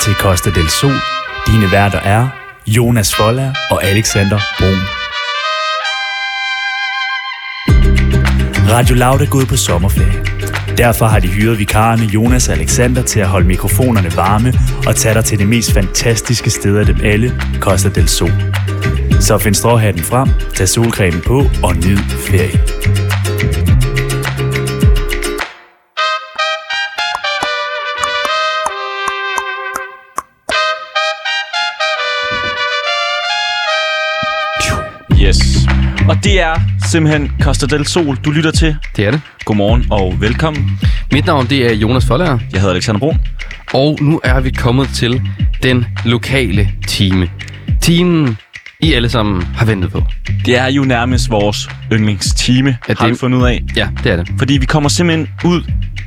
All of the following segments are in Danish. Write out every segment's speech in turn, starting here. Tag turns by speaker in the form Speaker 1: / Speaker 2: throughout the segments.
Speaker 1: til Costa del Sol. Dine værter er Jonas Foller og Alexander Brun. Radio Loud er gået på sommerferie. Derfor har de hyret vikarerne Jonas og Alexander til at holde mikrofonerne varme og tage dig til det mest fantastiske sted af dem alle, Costa del Sol. Så find stråhatten frem, tag solcremen på og nyd ferie.
Speaker 2: Yes. Og det er simpelthen Costa del Sol, du lytter til.
Speaker 3: Det er det.
Speaker 2: Godmorgen og velkommen.
Speaker 3: Mit navn det er Jonas Forlærer,
Speaker 2: Jeg hedder Alexander Brun.
Speaker 3: og nu er vi kommet til den lokale time. Timen, I alle sammen har ventet på.
Speaker 2: Det er jo nærmest vores yndlingstime, ja,
Speaker 3: Ja,
Speaker 2: det... har
Speaker 3: det-
Speaker 2: vi fundet ud af.
Speaker 3: Ja, det er det.
Speaker 2: Fordi vi kommer simpelthen ud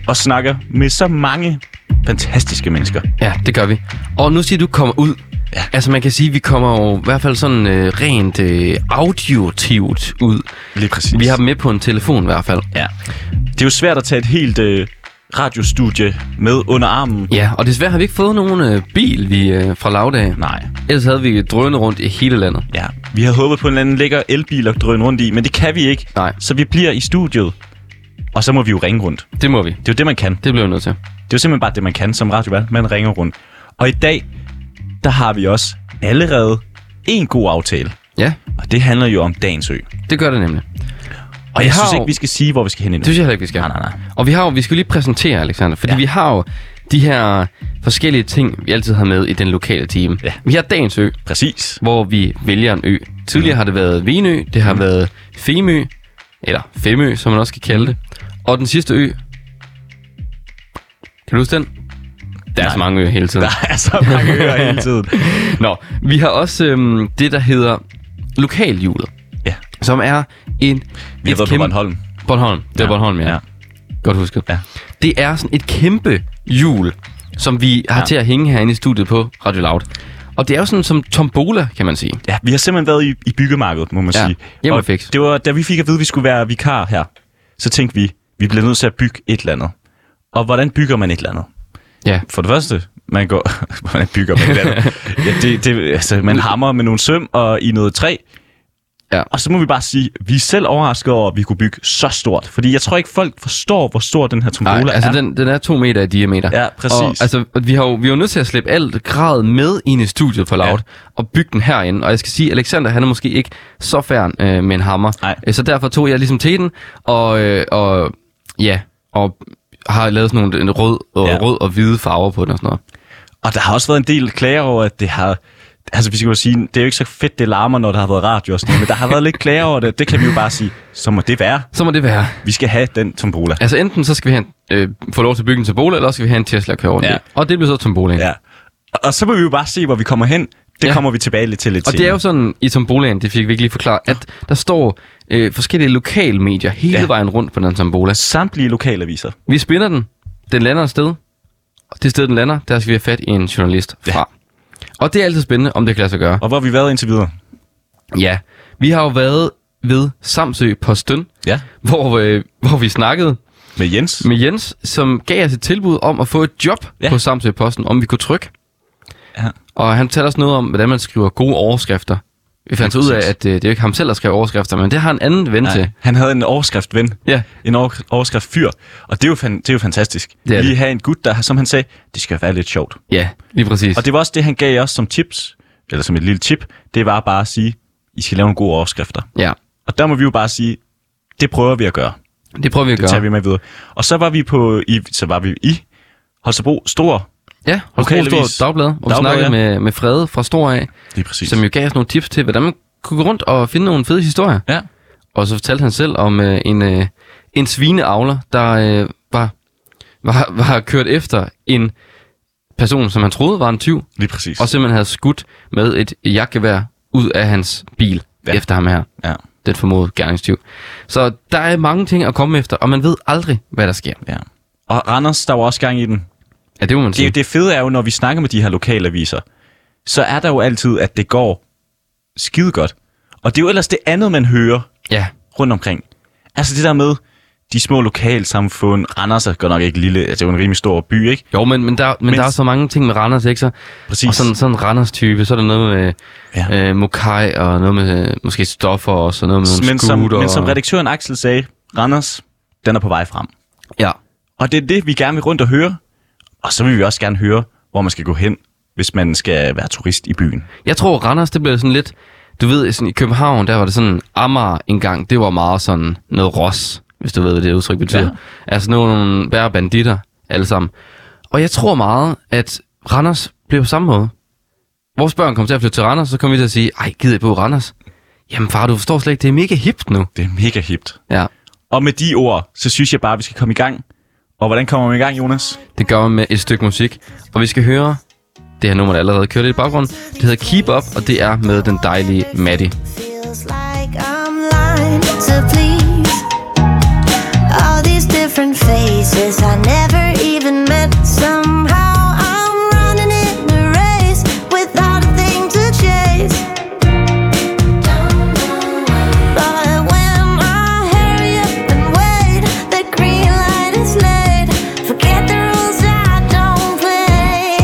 Speaker 2: og snakker med så mange fantastiske mennesker.
Speaker 3: Ja, det gør vi. Og nu siger du, kommer ud.
Speaker 2: Ja.
Speaker 3: Altså man kan sige, vi kommer jo i hvert fald sådan øh, rent øh, audiotivt ud.
Speaker 2: Lige præcis.
Speaker 3: Vi har dem med på en telefon i hvert fald.
Speaker 2: Ja. Det er jo svært at tage et helt øh, radiostudie med under armen.
Speaker 3: Ja, og desværre har vi ikke fået nogen øh, bil vi, øh, fra Lavdag.
Speaker 2: Nej.
Speaker 3: Ellers havde vi drønet rundt i hele landet.
Speaker 2: Ja. Vi havde håbet på en eller anden lækker elbil at drøne rundt i, men det kan vi ikke.
Speaker 3: Nej.
Speaker 2: Så vi bliver i studiet. Og så må vi jo ringe rundt.
Speaker 3: Det må vi.
Speaker 2: Det er jo det, man kan.
Speaker 3: Det bliver vi nødt til.
Speaker 2: Det er jo simpelthen bare det, man kan som radiovært. Man ringer rundt. Og i dag, der har vi også allerede en god aftale.
Speaker 3: Ja,
Speaker 2: Og det handler jo om dagens ø.
Speaker 3: det gør det nemlig.
Speaker 2: Og
Speaker 3: Vi
Speaker 2: jeg
Speaker 3: har
Speaker 2: synes
Speaker 3: jo-
Speaker 2: ikke, vi skal sige, hvor vi skal hen endnu.
Speaker 3: Det synes jeg heller ikke, vi skal.
Speaker 2: Nej, nej, nej.
Speaker 3: Og vi har jo, vi skal jo lige præsentere, Alexander, fordi
Speaker 2: Ja.
Speaker 3: ja. vi har jo de her forskellige ting, vi altid har med i den lokale time.
Speaker 2: Ja.
Speaker 3: Vi har dagens ø,
Speaker 2: Præcis.
Speaker 3: hvor vi vælger en ø.
Speaker 2: Mm.
Speaker 3: Tidligere har det været Vinø, det har været Femø, eller Femø, som man også kan kalde det. Og den sidste ø... Kan du huske den? Der er
Speaker 2: Nej.
Speaker 3: så mange øer hele tiden.
Speaker 2: Der er så mange ører hele tiden.
Speaker 3: Nå, vi har også øhm, det, der hedder lokalhjulet.
Speaker 2: Ja.
Speaker 3: Som er en...
Speaker 2: Vi har været på Bornholm.
Speaker 3: Bornholm. Det er
Speaker 2: Ja,
Speaker 3: Bornholm, ja.
Speaker 2: ja.
Speaker 3: ja. Godt husket.
Speaker 2: Ja.
Speaker 3: Det er sådan et kæmpe hjul, som vi har
Speaker 2: Ja.
Speaker 3: ja. til at hænge herinde i studiet på Radio Loud. Og det er jo sådan som tombola, kan man sige.
Speaker 2: Ja, vi har simpelthen været i, i byggemarkedet, må man
Speaker 3: Ja,
Speaker 2: sige.
Speaker 3: hjemme
Speaker 2: Og
Speaker 3: og fikse.
Speaker 2: Det var, da vi fik at vide, at vi skulle være vikar her, så tænkte vi, vi bliver nødt til at bygge et eller andet. Og hvordan bygger man et eller andet?
Speaker 3: Ja.
Speaker 2: For det første, man går... hvordan bygger man et eller andet? ja, det, det, altså, man hammer med nogle søm og i noget træ.
Speaker 3: Ja.
Speaker 2: Og så må vi bare sige, vi er selv overrasket over, at vi kunne bygge så stort. Fordi jeg tror ikke, folk forstår, hvor stor den her tombola
Speaker 3: Nej, altså
Speaker 2: er.
Speaker 3: den, den er to meter i diameter.
Speaker 2: Ja, præcis.
Speaker 3: Og, altså, og vi har jo vi er jo nødt til at slippe alt grad med ind i studiet på Loud,
Speaker 2: Ja.
Speaker 3: ja. og bygge den herinde. Og jeg skal sige, Alexander, han er måske ikke så færdig øh, med en hammer.
Speaker 2: Nej.
Speaker 3: Øh, Så derfor tog jeg ligesom til den, og, øh, og ja, og har lavet sådan nogle en rød og,
Speaker 2: Ja.
Speaker 3: ja. rød og hvide farver på den og sådan noget.
Speaker 2: Og der har også været en del klager over, at det har... Altså, vi skal jo sige, det er jo ikke så fedt, det larmer, når der har været radio og sådan noget, men der har været lidt klager over det. Det kan vi jo bare sige, så må det være.
Speaker 3: Så må det være.
Speaker 2: Vi skal have den tombola.
Speaker 3: Altså enten så skal vi have en, øh, få lov til at bygge en tombola, eller også skal vi have en Tesla at køre rundt
Speaker 2: Ja.
Speaker 3: ja. Og det bliver så tombolaen.
Speaker 2: Ja. Og- Og så må vi jo bare se, hvor vi kommer hen. Det ja.
Speaker 3: Ja.
Speaker 2: kommer vi tilbage lidt til lidt
Speaker 3: Og det er jo sådan, i tombolaen, det fik vi ikke lige forklaret, at der står øh, forskellige lokalmedier hele
Speaker 2: Ja.
Speaker 3: ja. vejen rundt på den her tombola.
Speaker 2: samtlige lokalaviser.
Speaker 3: Vi spinner den, den lander et sted, og det sted, den lander, der skal vi have fat i en journalist
Speaker 2: Ja.
Speaker 3: fra. Og det er altid spændende, om det kan lade sig gøre.
Speaker 2: Og hvor har vi været indtil videre?
Speaker 3: Ja, vi har jo været ved Samsø på Støn,
Speaker 2: Ja.
Speaker 3: hvor, øh, hvor vi snakkede
Speaker 2: Med Jens.
Speaker 3: med Jens, som gav os et tilbud om at få et job
Speaker 2: Ja.
Speaker 3: ja. på Samsø Posten, om vi kunne trykke.
Speaker 2: Ja.
Speaker 3: Og han fortalte os noget om, hvordan man skriver gode overskrifter. Vi fandt
Speaker 2: Ja,
Speaker 3: ud af,
Speaker 2: præcis.
Speaker 3: at øh, det er jo ikke ham selv, der skriver overskrifter, men det har en anden ven til.
Speaker 2: Nej, han havde en overskrift, ven.
Speaker 3: Ja.
Speaker 2: En over- overskrift fyr. Og det er jo, fan- det er jo fantastisk.
Speaker 3: Det er
Speaker 2: Vi
Speaker 3: det.
Speaker 2: har en gut, der, som han sagde, det skal være lidt sjovt.
Speaker 3: Ja, lige præcis.
Speaker 2: Og det var også det, han gav os som tips, eller som et lille tip, det var bare at sige, I skal lave nogle gode overskrifter.
Speaker 3: Ja,
Speaker 2: Og der må vi jo bare sige, det prøver vi at gøre.
Speaker 3: det prøver vi at
Speaker 2: Det tager
Speaker 3: gøre.
Speaker 2: vi med videre. Og så var vi, på, i, så var vi i Holstebro Stor.
Speaker 3: Ja, og Stor
Speaker 2: Lokalavis.
Speaker 3: Stor Dagblad, hvor vi
Speaker 2: Dagblad,
Speaker 3: snakkede
Speaker 2: ja.
Speaker 3: med, med Frede fra Stor af,
Speaker 2: Det er præcis.
Speaker 3: som jo gav os nogle tips til, hvordan man kunne gå rundt og finde nogle fede historier.
Speaker 2: Ja.
Speaker 3: Og så fortalte han selv om øh, en, øh, en svineavler, der øh, var, var, var kørt efter en person, som han troede var en tyv,
Speaker 2: Lige præcis.
Speaker 3: og simpelthen havde skudt med et jagtgevær ud af hans bil
Speaker 2: Ja.
Speaker 3: ja. efter ham her.
Speaker 2: Ja.
Speaker 3: Den formodede gerningstyv. Så der er mange ting at komme efter, og man ved aldrig, hvad der sker.
Speaker 2: ja. Og Randers, der var også gang i den.
Speaker 3: Ja, det må man sige.
Speaker 2: Det, det fede er jo, når vi snakker med de her lokalaviser, så er der jo altid, at det går skide godt. Og det er jo ellers det andet, man hører
Speaker 3: Ja,
Speaker 2: rundt omkring. Altså det der med, de små lokalsamfund, Randers er godt nok ikke lille, altså det er jo en rimelig stor by, ikke?
Speaker 3: Jo, men, men, der, men
Speaker 2: Mens-
Speaker 3: der er så mange ting med Randers, ikke? Så,
Speaker 2: Præcis.
Speaker 3: og sådan, sådan en Randers-type, så er der noget med
Speaker 2: Ja.
Speaker 3: ja. øh, Mokai, og noget med øh, måske stoffer også, og noget med nogle
Speaker 2: men, som,
Speaker 3: scooter.
Speaker 2: men som
Speaker 3: og-
Speaker 2: redaktøren Axel sagde, Randers, den er på vej frem.
Speaker 3: Ja.
Speaker 2: Og det er det, vi gerne vil rundt og høre. Og så vil vi også gerne høre, hvor man skal gå hen, hvis man skal være turist i byen.
Speaker 3: Jeg tror, Randers, det blev sådan lidt... Du ved, sådan i København, der var det sådan... Amager engang, det var meget sådan noget ros, hvis du ved, hvad det udtryk betyder.
Speaker 2: Ja.
Speaker 3: Ja. Altså nogle værre banditter, alle sammen. Og jeg tror meget, at Randers blev på samme måde. Vores børn kom til at flytte til Randers, så kom vi til at sige, ej, gider I på Randers? Jamen far, du forstår slet ikke, det er mega hipt nu.
Speaker 2: Det er mega hipt.
Speaker 3: Ja,
Speaker 2: Og med de ord, så synes jeg bare, at vi skal komme i gang. Og hvordan kommer man i gang, Jonas?
Speaker 3: det gør man med et stykke musik. Og vi skal høre det her nummer, der allerede kører lidt i baggrunden. Det hedder Keep Up, og det er med den dejlige Maddie.
Speaker 4: Feels like I'm lying to please all these different faces I never even met. Somehow I'm running in a race without a thing to chase. But when I hurry up and wait, the green light is laid. Forget the rules I don't play.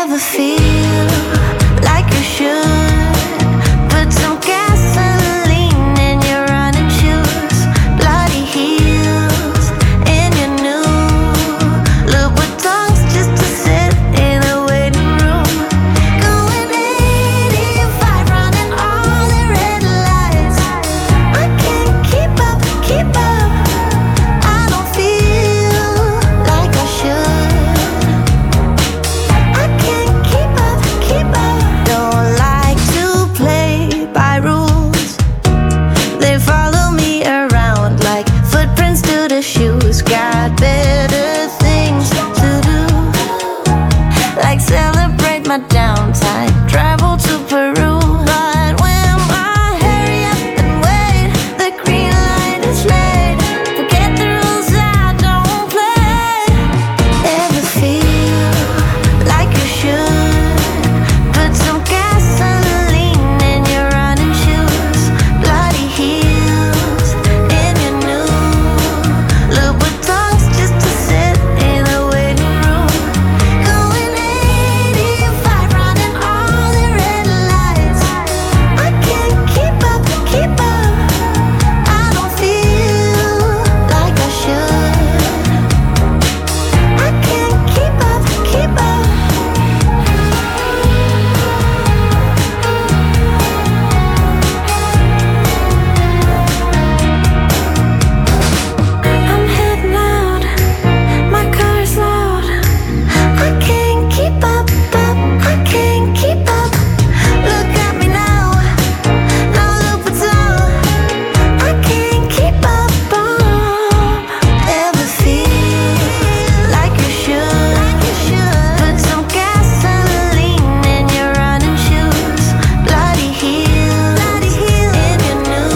Speaker 4: Ever feel like you should? Put some gasoline in your running shoes. Bloody heels in your new Look tongues just to sit in a waiting room. Going 85, running all the red lights. I can't keep up, keep up. I don't feel like I should. I can't keep up, keep up. Don't like to play by rules. They follow me around like footprints to the shoes. Got better things to do. Like celebrate my downtime, travel to Peru. But when I hurry up and wait, the green light is laid. Forget the rules I don't play. Ever feel like you should? Put some gasoline in your running shoes. Bloody heels in your new Louis tongues just to sit in a waiting room. Going 85, running all the red lights. I can't keep up, keep up. I don't feel like I should. I can't keep up, keep up. I'm heading out, my car's loud. I can't keep up, up. I can't keep up. Look at me now, no loop at all. I can't keep up, up. Ever feel like you should? Put some gasoline in your running shoes, bloody heels in your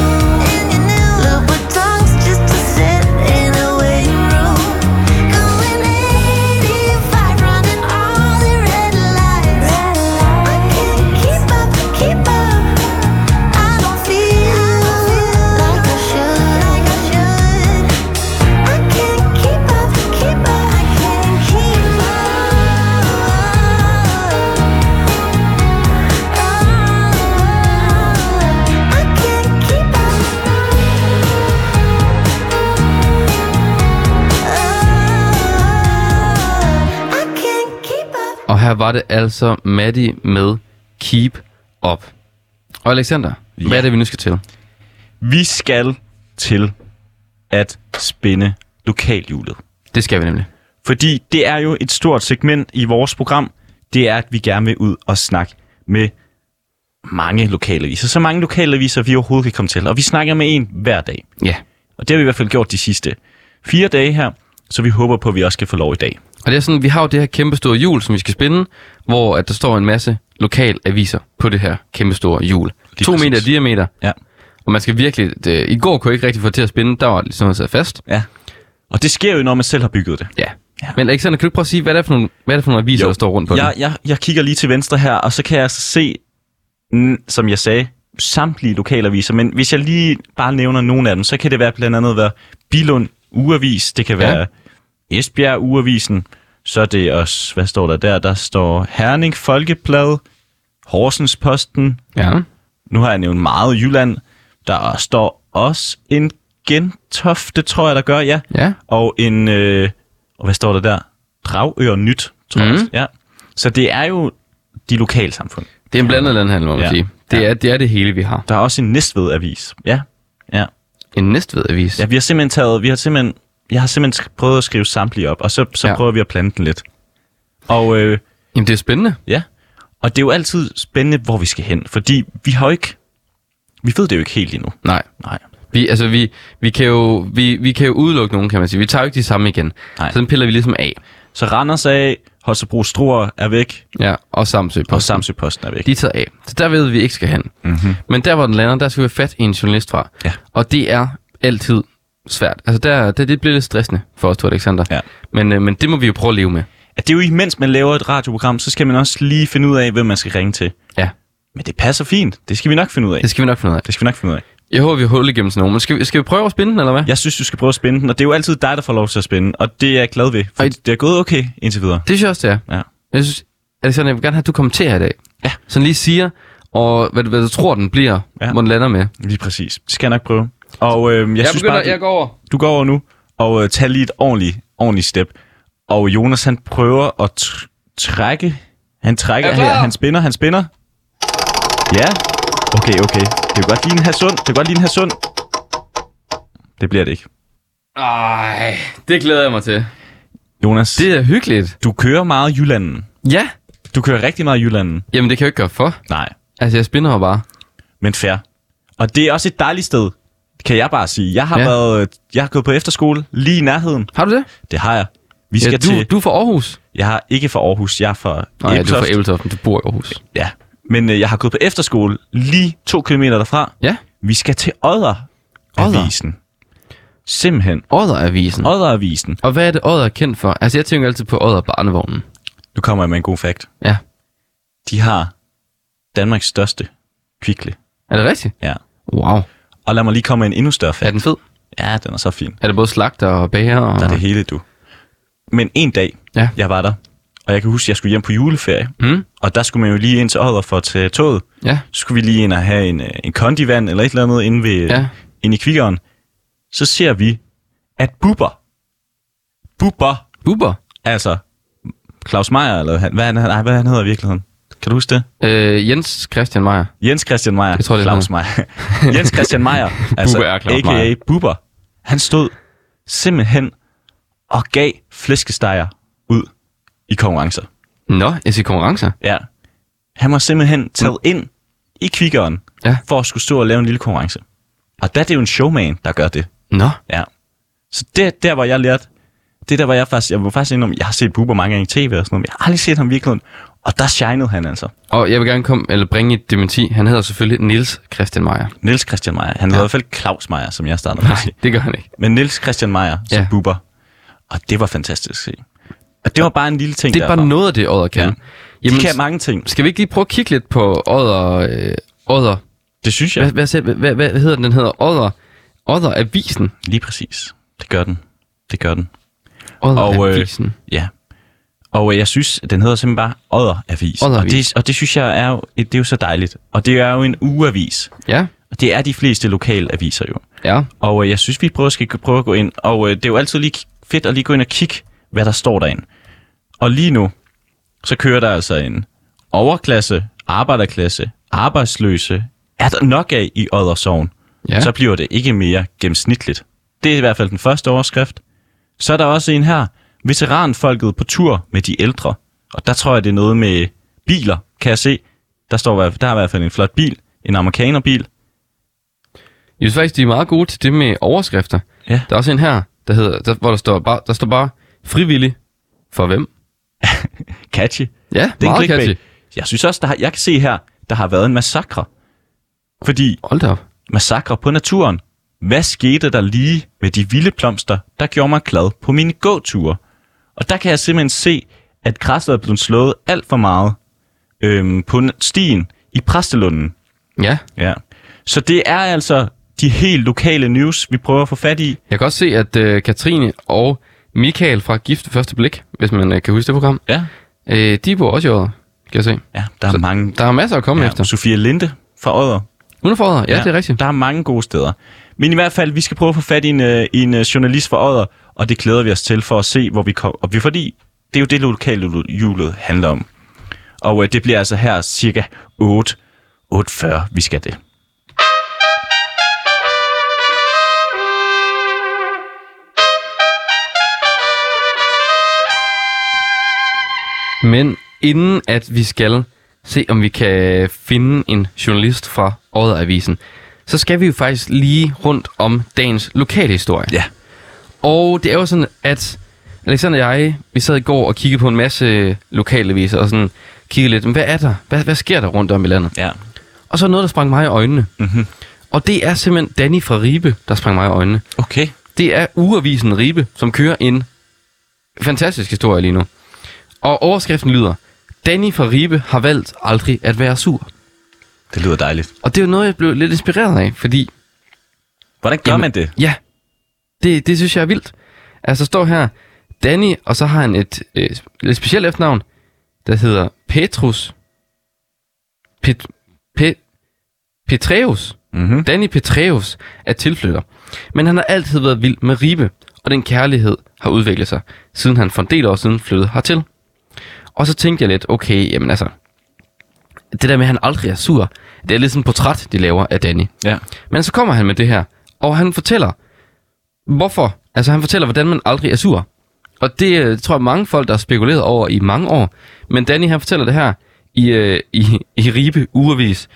Speaker 4: new loop with tongues just to sit in a waiting room. Going 85, running all the red lights. I can't keep up, keep up. I don't feel like I should, like I should. I can't keep up, keep up. I can't keep up. I can't keep up. I can't keep up.
Speaker 3: Og her var det altså Maddie med Keep Up. Og Alexander, ja. hvad er det, vi nu skal til?
Speaker 2: Vi skal til at spænde lokalhjulet.
Speaker 3: Det skal vi nemlig.
Speaker 2: Fordi det er jo et stort segment i vores program. Det er, at vi gerne vil ud og snakke med mange lokalaviser. Så mange lokalaviser, vi overhovedet kan komme til. Og vi snakker med en hver dag.
Speaker 3: Ja.
Speaker 2: Og det har vi i hvert fald gjort de sidste fire dage her. Så vi håber på, at vi også kan få lov i dag.
Speaker 3: Og det er sådan, vi har jo det her kæmpe store hjul, som vi skal spinde, hvor at der står en masse lokal aviser på det her kæmpe store hjul.
Speaker 2: Lige
Speaker 3: to
Speaker 2: præcis.
Speaker 3: meter i diameter,
Speaker 2: Ja.
Speaker 3: og man skal virkelig... Det, I går kunne jeg ikke rigtig få det til at spinde, der var ligesom noget sat fast.
Speaker 2: ja. Og det sker jo, når man selv har bygget det.
Speaker 3: Ja. ja. Men Alexander, kan du ikke prøve at sige, hvad det er for nogle, hvad er det for nogle aviser, der står rundt på
Speaker 2: jeg,
Speaker 3: den?
Speaker 2: jeg, jeg kigger lige til venstre her, og så kan jeg altså se, mm, som jeg sagde, samtlige lokalaviser. Men hvis jeg lige bare nævner nogle af dem, så kan det være blandt andet være Bilund ugeavis, det kan
Speaker 3: Ja.
Speaker 2: være ja. Esbjerg Ugeavisen, så er det også, hvad står der der? Der står Herning Folkeblad, Horsens Posten,
Speaker 3: Ja.
Speaker 2: nu har jeg nævnt meget Jylland, der står også en Gentofte, tror jeg, der gør, ja.
Speaker 3: Ja.
Speaker 2: Og en, øh, og hvad står der der? Dragør Nyt, tror mm. jeg.
Speaker 3: Mhm.
Speaker 2: også. Ja. Så det er jo de lokale samfund.
Speaker 3: Det er en blandet landhandel, må man
Speaker 2: Ja.
Speaker 3: ja. sige. Det er, det er det hele, vi har.
Speaker 2: Der er også en Næstved-avis. Ja. ja.
Speaker 3: En Næstved-avis.
Speaker 2: Ja, vi har simpelthen taget, vi har simpelthen, jeg har simpelthen sk- prøvet at skrive samtlige op, og så, så ja.
Speaker 3: Ja.
Speaker 2: prøver vi at plante den lidt. Og øh,
Speaker 3: Jamen, det er spændende.
Speaker 2: ja, og det er jo altid spændende, hvor vi skal hen, fordi vi har jo ikke, vi ved det jo ikke helt endnu.
Speaker 3: Nej.
Speaker 2: Nej.
Speaker 3: Vi, altså, vi, vi, kan jo, vi, vi kan jo udelukke nogen, kan man sige. Vi tager jo ikke de samme igen.
Speaker 2: Nej.
Speaker 3: Så den piller vi ligesom af.
Speaker 2: Så Randers af, Holstebro Struer er væk,
Speaker 3: Ja, og Samsø på.
Speaker 2: og Samsø Posten er væk.
Speaker 3: De er taget af. Så der ved vi ikke skal hen. Mm-hmm. Men der, hvor den lander, der skal vi have fat i en journalist fra.
Speaker 2: Ja.
Speaker 3: Og det er altid svært. Altså, der, det, det bliver lidt stressende for os to, Alexander.
Speaker 2: Ja.
Speaker 3: Men, øh, men det må vi jo prøve at leve med.
Speaker 2: At det er jo imens man laver et radioprogram, så skal man også lige finde ud af, hvem man skal ringe til.
Speaker 3: Ja,
Speaker 2: Men det passer fint, det skal vi nok finde ud af.
Speaker 3: det skal vi nok finde ud af.
Speaker 2: Det skal vi nok finde ud af.
Speaker 3: Jeg håber, vi har hul igennem sådan nogen. Men skal, vi- skal vi prøve at spinde den, eller hvad?
Speaker 2: Jeg synes, du skal prøve at spænde den, og det er jo altid dig, der får lov til at spænde, og det er jeg glad ved, for
Speaker 3: Ej.
Speaker 2: det er gået okay indtil videre.
Speaker 3: Det synes jeg også, det er.
Speaker 2: Ja.
Speaker 3: Jeg synes, Alexander, jeg vil gerne have, at du kommenterer i dag.
Speaker 2: Ja.
Speaker 3: Sådan lige siger, og hvad, du- hvad du tror, den bliver,
Speaker 2: Ja.
Speaker 3: ja. hvor den lander med. Jeg,
Speaker 2: Lige præcis. Det skal jeg nok prøve. Og øh, jeg, jeg synes bare, du,
Speaker 3: går over.
Speaker 2: du går over nu og øh, tager lige et ordentligt, ordentligt step. Og Jonas, han prøver at tr- trække. Han trækker
Speaker 3: Er du klar?
Speaker 2: her. Han spinner, han spinner. Ja. Okay, okay. Det kan godt ligne en sund. Det kan godt ligne en sund. Det bliver det ikke.
Speaker 3: Ej, det glæder jeg mig til.
Speaker 2: Jonas, det...
Speaker 3: Det er hyggeligt.
Speaker 2: du kører meget Jylanden.
Speaker 3: Ja.
Speaker 2: Du kører rigtig meget Jylanden.
Speaker 3: Jamen, det kan jeg jo ikke gøre for.
Speaker 2: Nej,
Speaker 3: Altså, jeg spinder jo bare.
Speaker 2: men fair. Og det er også et dejligt sted, kan jeg bare sige. Jeg har, ja.
Speaker 3: Ja.
Speaker 2: været, øh, jeg har gået på efterskole lige i nærheden.
Speaker 3: Har du det?
Speaker 2: Det har jeg. Vi skal
Speaker 3: Ja,
Speaker 2: til...
Speaker 3: du, du er fra Aarhus.
Speaker 2: Jeg har ikke fra Aarhus, jeg er fra
Speaker 3: Nej, ja, du er
Speaker 2: Ebeltoft.
Speaker 3: fra Æbeltoft, du bor i Aarhus.
Speaker 2: Ja, men øh, jeg har gået på efterskole lige to kilometer derfra.
Speaker 3: Ja.
Speaker 2: Vi skal til Odder. Mm.
Speaker 3: Odder?
Speaker 2: Avisen. Simpelthen.
Speaker 3: Odder-avisen.
Speaker 2: Odder Avisen.
Speaker 3: Og hvad er det, Odder er kendt for? Altså, jeg tænker altid på Odder Barnevognen.
Speaker 2: Nu kommer jeg med en god fakt.
Speaker 3: Ja.
Speaker 2: De har Danmarks største kvikle.
Speaker 3: Er det rigtigt?
Speaker 2: Ja.
Speaker 3: Wow.
Speaker 2: Og lad mig lige komme med en endnu større
Speaker 3: Er
Speaker 2: fakt.
Speaker 3: den fed?
Speaker 2: Ja, den er så fin.
Speaker 3: Er det både slagter og bager? Og...
Speaker 2: Der er det hele, du. Men en dag,
Speaker 3: Ja.
Speaker 2: jeg var der, og jeg kan huske, at jeg skulle hjem på juleferie.
Speaker 3: Mm.
Speaker 2: Og der skulle man jo lige ind til Odder for at tage toget.
Speaker 3: Ja.
Speaker 2: så skulle vi lige ind og have en, øh, en kondivand eller et eller andet inde, ved, ja.
Speaker 3: Ja.
Speaker 2: inde i kvikkeren. Så ser vi, at Bubber, Bubber,
Speaker 3: Uber?
Speaker 2: altså Claus Meier, eller han, hvad, han, nej, hvad han hedder i virkeligheden? Kan du huske det?
Speaker 3: Øh, Jens Christian Meier.
Speaker 2: Jens Christian Meier.
Speaker 3: Jeg tror, det er
Speaker 2: Claus Meier. Jens Christian Meier, altså
Speaker 3: Bubber er Claus
Speaker 2: a.k.a.
Speaker 3: Meyer.
Speaker 2: Bubber. Han stod simpelthen og gav flæskesteger ud i konkurrencer.
Speaker 3: Nå, jeg siger konkurrencer.
Speaker 2: Ja. Han var simpelthen taget ind i kvikkeren, ja.
Speaker 3: Mm. Ja.
Speaker 2: for at skulle stå og lave en lille konkurrence. Og der er det jo en showman, der gør det.
Speaker 3: Nå.
Speaker 2: Ja. Så det er der, hvor jeg lærte. Det er der, hvor jeg faktisk, jeg var faktisk indrømme, jeg har set Bubber mange gange i tv og sådan noget, men jeg har aldrig set ham i virkeligheden. Og der shinede han altså.
Speaker 3: Og jeg vil gerne komme, eller bringe et dementi. Han hedder selvfølgelig Nils Christian Meier.
Speaker 2: Niels Christian Meier. Han ja. hedder i hvert fald Claus Meier, som jeg startede med at sige.
Speaker 3: det gør han ikke.
Speaker 2: Men Niels Christian Meier som ja.
Speaker 3: Ja.
Speaker 2: Bubber. Og det var fantastisk at se. Og det var bare en lille ting
Speaker 3: Det er
Speaker 2: derfra.
Speaker 3: bare noget af det, Odder kan.
Speaker 2: Ja.
Speaker 3: Ja.
Speaker 2: De
Speaker 3: Jamen,
Speaker 2: kan mange ting.
Speaker 3: skal vi ikke lige prøve at kigge lidt på Odder... Øh, Odder.
Speaker 2: Det synes jeg.
Speaker 3: Hvad, hvad, selv- hvad, hvad, hvad hedder den? Den hedder Odder... Odder Avisen.
Speaker 2: Lige præcis. Det gør den. Det gør den.
Speaker 3: Odder
Speaker 2: Og, øh,
Speaker 3: Avisen.
Speaker 2: Ja. Og øh, jeg synes, den hedder simpelthen bare Odder-avis.
Speaker 3: Odder
Speaker 2: og,
Speaker 3: Avis.
Speaker 2: det, og det synes jeg er jo, det er jo så dejligt. Og det er jo en ugeavis.
Speaker 3: Ja,
Speaker 2: Og det er de fleste lokale aviser jo.
Speaker 3: ja.
Speaker 2: Og øh, jeg synes, vi prøver, skal prøve at gå ind. Og øh, det er jo altid lige k- fedt at lige gå ind og kigge, hvad der står derinde. Og lige nu, så kører der altså en overklasse, arbejderklasse, arbejdsløse. Er der nok af i Odder Sogn?
Speaker 3: Ja.
Speaker 2: Så bliver det ikke mere gennemsnitligt. Det er i hvert fald den første overskrift. Så er der også en her. Veteranfolket på tur med de ældre. Og der tror jeg, det er noget med biler, kan jeg se. Der, står, i hvert fald- der er i hvert fald en flot bil. En amerikanerbil.
Speaker 3: Jeg synes faktisk, de er meget gode til det med overskrifter.
Speaker 2: Ja.
Speaker 3: Der er også en her, der hedder, der, hvor der står, bare, der står bare frivillig for hvem?
Speaker 2: Catchy.
Speaker 3: Ja,
Speaker 2: Det er en
Speaker 3: meget
Speaker 2: clickbait.
Speaker 3: catchy.
Speaker 2: Jeg synes også, der har, jeg kan se her, der har været en massakre. Fordi
Speaker 3: Hold da op.
Speaker 2: massakre på naturen. Hvad skete der lige med de vilde blomster, der gjorde mig glad på mine gåture? Og der kan jeg simpelthen se, at græsset er blevet slået alt for meget øhm, på n- stien i Præstelunden.
Speaker 3: Ja,
Speaker 2: Ja. Så det er altså de helt lokale news, vi prøver at få fat i.
Speaker 3: Jeg kan også se, at øh, Katrine og Michael fra Gift ved Første Blik, hvis man øh, kan huske det program,
Speaker 2: Ja,
Speaker 3: øh, de bor også i Odder, kan jeg se.
Speaker 2: ja der er
Speaker 3: Så-
Speaker 2: mange.
Speaker 3: Der er masser at komme ja,
Speaker 2: ja,
Speaker 3: efter.
Speaker 2: Sofia Linde fra Odder.
Speaker 3: Hun er fra Odder, ja, ja, det er rigtigt.
Speaker 2: Der er mange gode steder. Men i hvert fald, vi skal prøve at få fat i en, øh, i en øh, journalist fra Odder, og det glæder vi os til for at se, hvor vi kommer. Og vi, fordi det er jo det, lokale julet handler om. Og øh, det bliver altså her cirka 8, 8.40, vi skal det.
Speaker 3: Men inden at vi skal se, om vi kan finde en journalist fra Odder-avisen, så skal vi jo faktisk lige rundt om dagens lokalhistorie.
Speaker 2: Ja.
Speaker 3: Og det er jo sådan, at Alexander og jeg, vi sad i går og kiggede på en masse lokalaviser og sådan kiggede lidt, "Men hvad er der? Hvad, hvad sker der rundt om i landet?
Speaker 2: Ja.
Speaker 3: Og så noget, der sprang mig i øjnene. Mm-hmm. Og det er simpelthen Danny fra Ribe, der sprang mig i øjnene.
Speaker 2: Okay.
Speaker 3: Det er ugeavisen Ribe, som kører en fantastisk historie lige nu. Og overskriften lyder, Danny fra Ribe har valgt aldrig at være sur.
Speaker 2: Det lyder dejligt.
Speaker 3: Og det er jo noget, jeg blev lidt inspireret af, fordi
Speaker 2: Hvordan gør Jamen. man det?
Speaker 3: Ja, det, det synes jeg er vildt. Altså står her Danny, og så har han et øh, lidt specielt efternavn, der hedder Petrus. Pet, Pet, Petreus.
Speaker 2: Mhm.
Speaker 3: Danny Petreus er tilflytter. Men han har altid været vild med Ribe, og den kærlighed har udviklet sig, siden han for en del år siden flyttede hertil. Og så tænkte jeg lidt, okay, jamen altså, det der med, at han aldrig er sur, det er lidt sådan et portræt, de laver af Danny.
Speaker 2: Ja.
Speaker 3: Men så kommer han med det her, og han fortæller, hvorfor. Altså han fortæller, hvordan man aldrig er sur. Og det øh, tror jeg mange folk, der har spekuleret over i mange år. Men Danny han fortæller det her i, øh, i, i Ribe Urevis.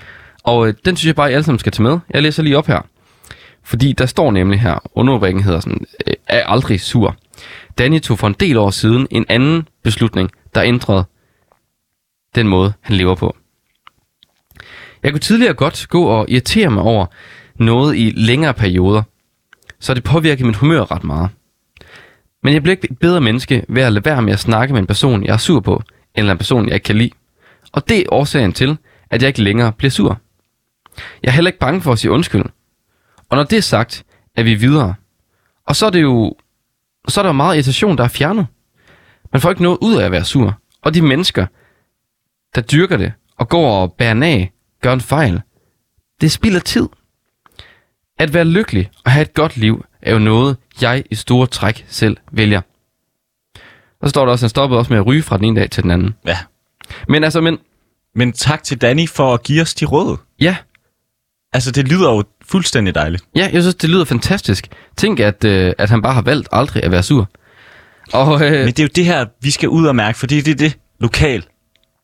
Speaker 3: Og øh, den synes jeg bare, I alle sammen skal tage med. Jeg læser lige op her. Fordi der står nemlig her, underrubrikken hedder sådan, øh, er aldrig sur. Danny tog for en del år siden en anden beslutning, der ændrede den måde, han lever på. Jeg kunne tidligere godt gå og irritere mig over noget i længere perioder, så det påvirker mit humør ret meget. Men jeg bliver ikke et bedre menneske ved at lade være med at snakke med en person, jeg er sur på, eller en person, jeg ikke kan lide. Og det er årsagen til, at jeg ikke længere bliver sur. Jeg er heller ikke bange for at sige undskyld. Og når det er sagt, er vi videre. Og så er det jo så er der jo meget irritation, der er fjernet. Man får ikke noget ud af at være sur. Og de mennesker, der dyrker det og går og bærer den af, gør en fejl. Det spilder tid. At være lykkelig og have et godt liv er jo noget, jeg i store træk selv vælger. Og så står der også, at han stoppede også med at ryge fra den ene dag til den anden.
Speaker 2: ja.
Speaker 3: Men altså, men
Speaker 2: Men tak til Danny for at give os de råd.
Speaker 3: ja,
Speaker 2: Altså, det lyder jo fuldstændig dejligt.
Speaker 3: ja jeg synes, det lyder fantastisk. Tænk, at, øh, at han bare har valgt aldrig at være sur. Og, øh,
Speaker 2: Men det er jo det her, vi skal ud og mærke, fordi det er det, lokal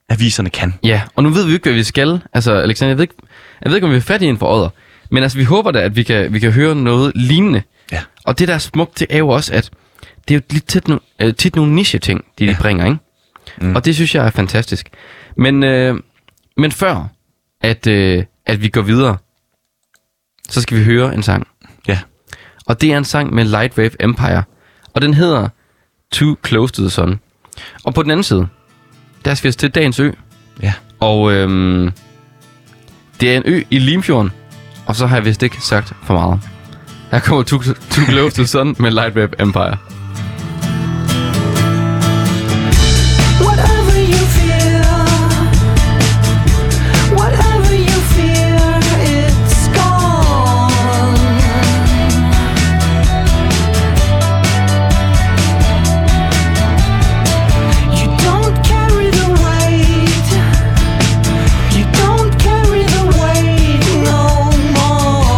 Speaker 2: aviserne kan.
Speaker 3: Ja, og nu ved vi jo ikke, hvad vi skal. Altså, Alexander, jeg ved ikke, jeg ved ikke om vi er fat i en for Odder. Men altså, vi håber da, at vi kan, vi kan høre noget lignende.
Speaker 2: Ja.
Speaker 3: Og det, der er smukt, det er jo også, at det er jo lidt tit, no, øh, tit nogle niche-ting, de, ja. bringer, ikke? Mm. Og det synes jeg er fantastisk. Men, øh, men før, at, øh, at vi går videre, så skal vi høre en sang.
Speaker 2: Ja.
Speaker 3: Og det er en sang med Lightwave Empire. Og den hedder Too Close to the Sun. Og på den anden side, der skal vi til Dagens Ø.
Speaker 2: Ja.
Speaker 3: Og øhm, det er en ø i Limfjorden. Og så har jeg vist ikke sagt for meget. Her kommer Too, Too Close to the Sun med Lightwave Empire.
Speaker 5: Whatever you feel, whatever you fear, it's gone. You don't carry the weight. You don't carry the weight no more.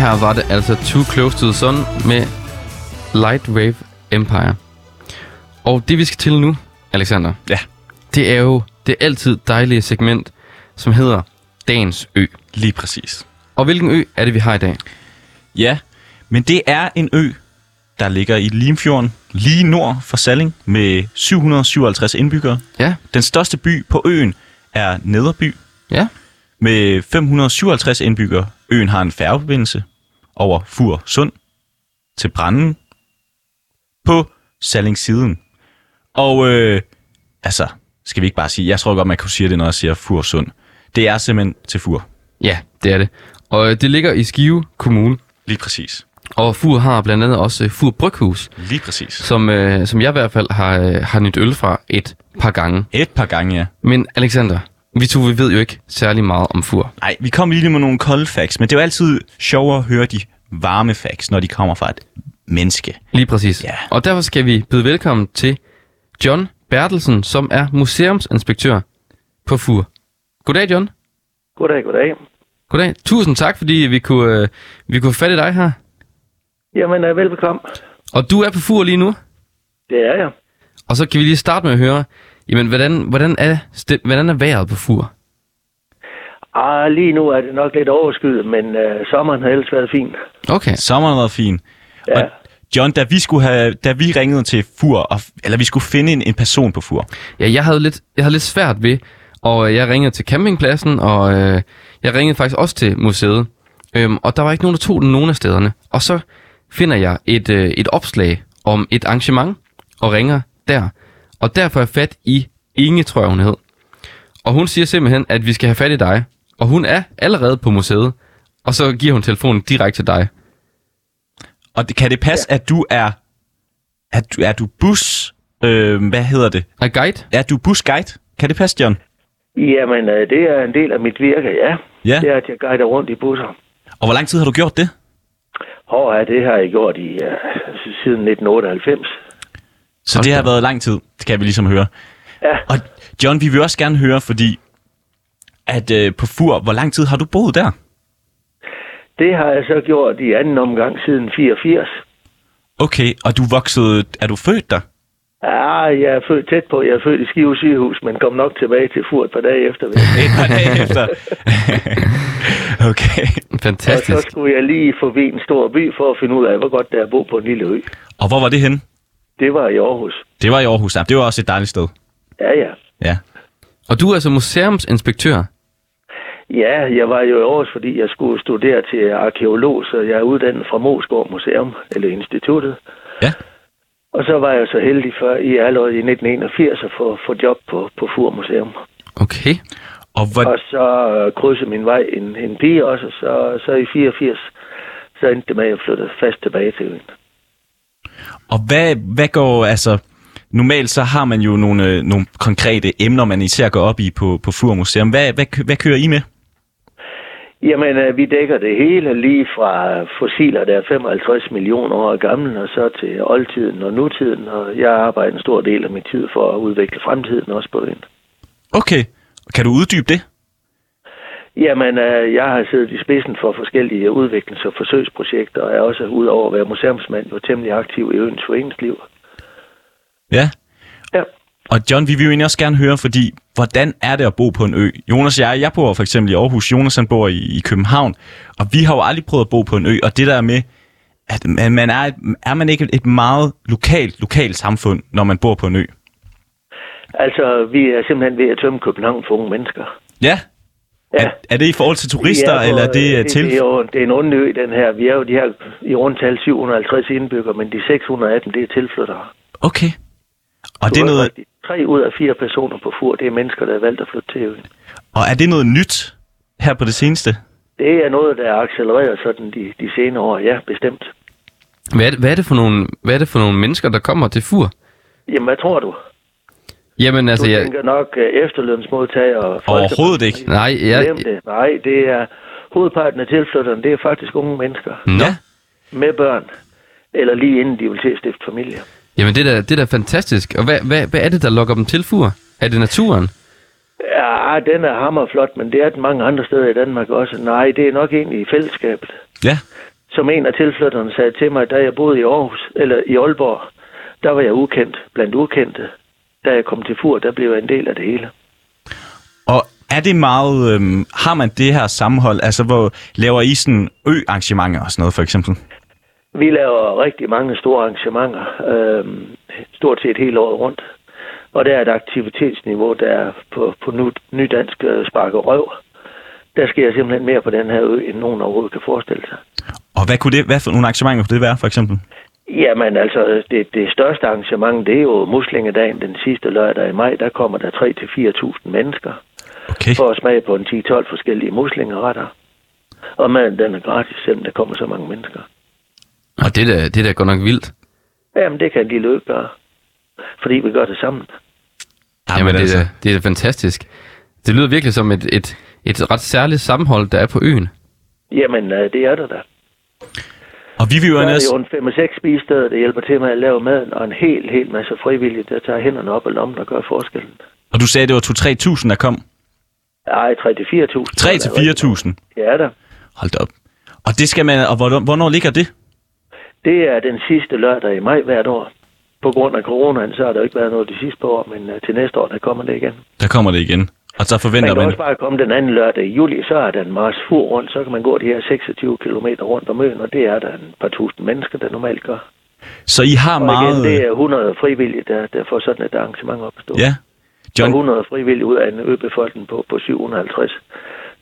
Speaker 3: her var det altså Too Close to the Sun med Light Wave Empire. Og det vi skal til nu, Alexander,
Speaker 2: Ja.
Speaker 3: det er jo det altid dejlige segment, som hedder Dagens Ø.
Speaker 2: Lige præcis.
Speaker 3: Og hvilken ø er det, vi har i dag?
Speaker 2: Ja, men det er en ø, der ligger i Limfjorden, lige nord for Salling, med 757 indbyggere.
Speaker 3: Ja,
Speaker 2: Den største by på øen er Nederby,
Speaker 3: ja,
Speaker 2: med 557 indbyggere. Øen har en færgeforbindelse over Fur Sund til Branden på Sallingssiden. Og øh, altså, skal vi ikke bare sige, jeg tror godt, man kunne sige det, når jeg siger Fur Sund. Det er simpelthen til Fur.
Speaker 3: ja, det er det. Og øh, det ligger i Skive Kommune,
Speaker 2: Lige præcis.
Speaker 3: og Fur har blandt andet også øh, Fur Bryghus,
Speaker 2: Lige præcis.
Speaker 3: som, øh, som jeg i hvert fald har, øh, har nyt øl fra et par gange.
Speaker 2: Et par gange, ja.
Speaker 3: Men Alexander, vi to vi ved jo ikke særlig meget om Fur.
Speaker 2: Nej, vi kom lige med nogle kolde facts, men det er jo altid sjovere at høre de varme facts, når de kommer fra et menneske.
Speaker 3: Lige præcis.
Speaker 2: Ja.
Speaker 3: Og derfor skal vi byde velkommen til John Bertelsen, som er museumsinspektør på FUR. Goddag, John.
Speaker 6: Goddag, goddag.
Speaker 3: Goddag. Tusind tak, fordi vi kunne, øh, vi kunne fatte dig her.
Speaker 6: Jamen, øh, velbekomme.
Speaker 3: Og du er på FUR lige nu,
Speaker 6: Det er jeg.
Speaker 3: og så kan vi lige starte med at høre, jamen, hvordan, hvordan, er, sti- hvordan er vejret på FUR?
Speaker 6: Ah, lige nu er det nok lidt overskyet, men øh, sommeren har ellers været fin.
Speaker 3: Okay.
Speaker 2: Sommeren har været fin.
Speaker 6: Ja.
Speaker 2: Og John, da vi, skulle have, da vi ringede til Fur, og, eller vi skulle finde en, en person på Fur.
Speaker 3: Ja, jeg havde lidt, jeg havde lidt svært ved, og øh, jeg ringede til campingpladsen, og øh, jeg ringede faktisk også til museet. Øhm, og der var ikke nogen, der tog den nogen af stederne. Og så finder jeg et, øh, et opslag om et arrangement, og ringer der. Og der får jeg fat i Inge, tror jeg, hun hed. Og hun siger simpelthen, at vi skal have fat i dig. Og hun er allerede på museet. Og så giver hun telefonen direkte til dig.
Speaker 2: Og det, kan det passe, ja. at du er, at du, er du bus, øh, hvad hedder det?
Speaker 3: Er guide?
Speaker 2: Er du busguide? Kan det passe, John?
Speaker 6: Jamen, øh, det er en del af mit virke, ja.
Speaker 2: Ja.
Speaker 6: Det er, at jeg guider rundt i busser.
Speaker 2: Og hvor lang tid har du gjort det?
Speaker 6: Hvor er det har jeg gjort i, øh, siden 1998?
Speaker 2: Så det har været lang tid, det kan vi ligesom høre.
Speaker 6: Ja.
Speaker 2: Og John, vi vil også gerne høre, fordi at øh, på Fur, hvor lang tid har du boet der?
Speaker 6: Det har jeg så gjort i anden omgang siden 84.
Speaker 2: Okay, og du voksede, er du født der?
Speaker 6: Ah, jeg er født tæt på. Jeg er født i Skive sygehus, men kom nok tilbage til Furt et par dage efter. vil jeg sige.
Speaker 2: Et par dage efter. okay.
Speaker 6: Og så
Speaker 3: Fantastisk.
Speaker 6: skulle jeg lige forbi en stor by for at finde ud af, hvor godt det er at bo på en lille ø.
Speaker 2: Og hvor var det henne?
Speaker 6: Det var i Aarhus.
Speaker 2: Det var i Aarhus. Ja, det var også et dejligt sted.
Speaker 6: Ja, ja.
Speaker 2: Ja.
Speaker 3: Og du er altså museumsinspektør.
Speaker 6: Ja, jeg var jo i Aarhus, fordi jeg skulle studere til arkeolog, så jeg er uddannet fra Moskov Museum, eller instituttet.
Speaker 2: Ja.
Speaker 6: Og så var jeg så heldig for i allerede i 1981 at få, få job på, på Fur Museum.
Speaker 3: Okay.
Speaker 2: Og hvor,
Speaker 6: Og så øh, krydsede min vej en, en pige også, og så, så i 84, så endte det med, at jeg flyttede fast tilbage til øen.
Speaker 2: og hvad, hvad går, altså... Normalt så har man jo nogle, øh, nogle konkrete emner, man især går op i på, på Fur Museum. Hvad, hvad, kø- hvad kører I med?
Speaker 6: Jamen, øh, vi dækker det hele, lige fra fossiler, der er 55 millioner år gamle, og så til oldtiden og nutiden, og jeg arbejder en stor del af min tid for at udvikle fremtiden også på øen.
Speaker 2: Okay. Kan du uddybe det?
Speaker 6: Jamen, øh, jeg har siddet i spidsen for forskellige udviklings- og forsøgsprojekter, og er også udover at være museumsmand jo temmelig aktiv i øens foreningsliv.
Speaker 2: Ja.
Speaker 6: Ja.
Speaker 2: Og John, vi vil jo egentlig også gerne høre, fordi hvordan er det at bo på en ø? Jonas og jeg, jeg bor for eksempel i Aarhus, Jonas han bor i, i København, og vi har jo aldrig prøvet at bo på en ø, og det der med, at man man er, et, er man ikke et meget lokalt, lokalt samfund, når man bor på en ø?
Speaker 6: Altså, vi er simpelthen ved at tømme København for unge mennesker.
Speaker 2: Ja.
Speaker 6: Ja.
Speaker 2: Er, er det i forhold til turister,
Speaker 6: Vi på- øh,
Speaker 2: eller er det, det til?
Speaker 6: Det er jo det er en ond ø, den her. Vi er jo de her i rundt tal 750 indbyggere, men de 618, det er tilflyttere.
Speaker 2: Okay. Og, det
Speaker 6: Du
Speaker 2: er
Speaker 6: har
Speaker 2: noget,
Speaker 6: faktisk Tre ud af fire personer på fur, det er mennesker, der har valgt at flytte til øen.
Speaker 2: og er det noget nyt her på det seneste?
Speaker 6: Det er noget, der er accelereret sådan de, de senere år, ja, bestemt.
Speaker 3: Hvad er, det, hvad, er det for nogle, hvad er det for nogle mennesker, der kommer til FUR?
Speaker 6: Jamen, hvad tror du?
Speaker 3: Jamen altså,
Speaker 6: Du
Speaker 3: jeg,
Speaker 6: tænker nok øh, efterlønsmodtagere. og folk, der-
Speaker 2: Overhovedet ikke.
Speaker 3: nej, jeg,
Speaker 6: Glem det. Nej, det er hovedparten af tilflytterne, det er faktisk unge mennesker
Speaker 3: nå,
Speaker 2: Ja. Mm.
Speaker 6: med børn, eller lige inden de vil til at stifte familie.
Speaker 3: jamen det er da, det er da fantastisk. Og hvad, hvad, hvad er det, der lokker dem til FUR? Er det naturen?
Speaker 6: Ja, den er hammerflot, men det er den mange andre steder i Danmark også. Nej, det er nok egentlig i fællesskabet.
Speaker 2: Ja.
Speaker 6: Som en af tilflytterne sagde til mig, da jeg boede i Aarhus, eller i Aalborg, der var jeg ukendt blandt ukendte. Da jeg kom til Fur, der blev jeg en del af det hele.
Speaker 2: Og er det meget... Øhm, har man det her sammenhold? Altså, hvor laver I sådan ø-arrangementer og sådan noget, for eksempel?
Speaker 6: Vi laver rigtig mange store arrangementer, øh, stort set hele året rundt. Og der er et aktivitetsniveau, der er på, på nu, nydansk øh, spark og røv. Der sker simpelthen mere på den her ø, end nogen overhovedet kan forestille sig.
Speaker 2: Og hvad, kunne det, hvad for nogle arrangementer kunne det være, for eksempel?
Speaker 6: Jamen altså, det, det største arrangement, det er jo muslingedagen den sidste lørdag i maj. Der kommer der 3-4.000 mennesker
Speaker 2: Okay.
Speaker 6: for at smage på en 10-12 forskellige muslingeretter. Og maden, den er gratis, selvom der kommer så mange mennesker.
Speaker 3: Og det er da, det er da godt nok vildt.
Speaker 6: Jamen, det kan de løbe gøre, fordi vi gør det sammen.
Speaker 3: Jamen, det,
Speaker 2: altså.
Speaker 3: er, da- det er da fantastisk. Det lyder virkelig som et, et, et ret særligt sammenhold, der er på øen.
Speaker 6: Jamen, øh, det er der da.
Speaker 2: Og vi vil jo
Speaker 6: Der er
Speaker 2: næsten...
Speaker 6: jo en 5-6 spisesteder, der hjælper til med at lave maden, og en hel, hel masse frivillige, der tager hænderne op og lommen og gør forskellen.
Speaker 2: Og du sagde, det var 2-3.000, der kom.
Speaker 6: Ej, 3-4.000.
Speaker 2: 3-4.000.
Speaker 6: Ja, da.
Speaker 2: Hold da op. Og det skal man... Og hvornår, hvornår ligger det?
Speaker 6: Det er den sidste lørdag i maj hvert år. På grund af coronaen, så har der jo ikke været noget de sidste par år, men øh, til næste år, der kommer det igen.
Speaker 2: Der kommer det igen. Og så
Speaker 6: Man
Speaker 2: forventer
Speaker 6: kan
Speaker 2: man...
Speaker 6: også bare komme den anden lørdag i juli, så er der en Mars fur rundt, så kan man gå de her 26 km rundt om øen, og det er der en par tusind mennesker, der normalt gør.
Speaker 2: Så I har
Speaker 6: Og igen,
Speaker 2: meget...
Speaker 6: det er 100 frivillige, der, der får sådan et arrangement op at stå.
Speaker 2: Ja.
Speaker 6: John...
Speaker 2: John,
Speaker 6: 100 frivillige ud af en øbefolkning på, på 750.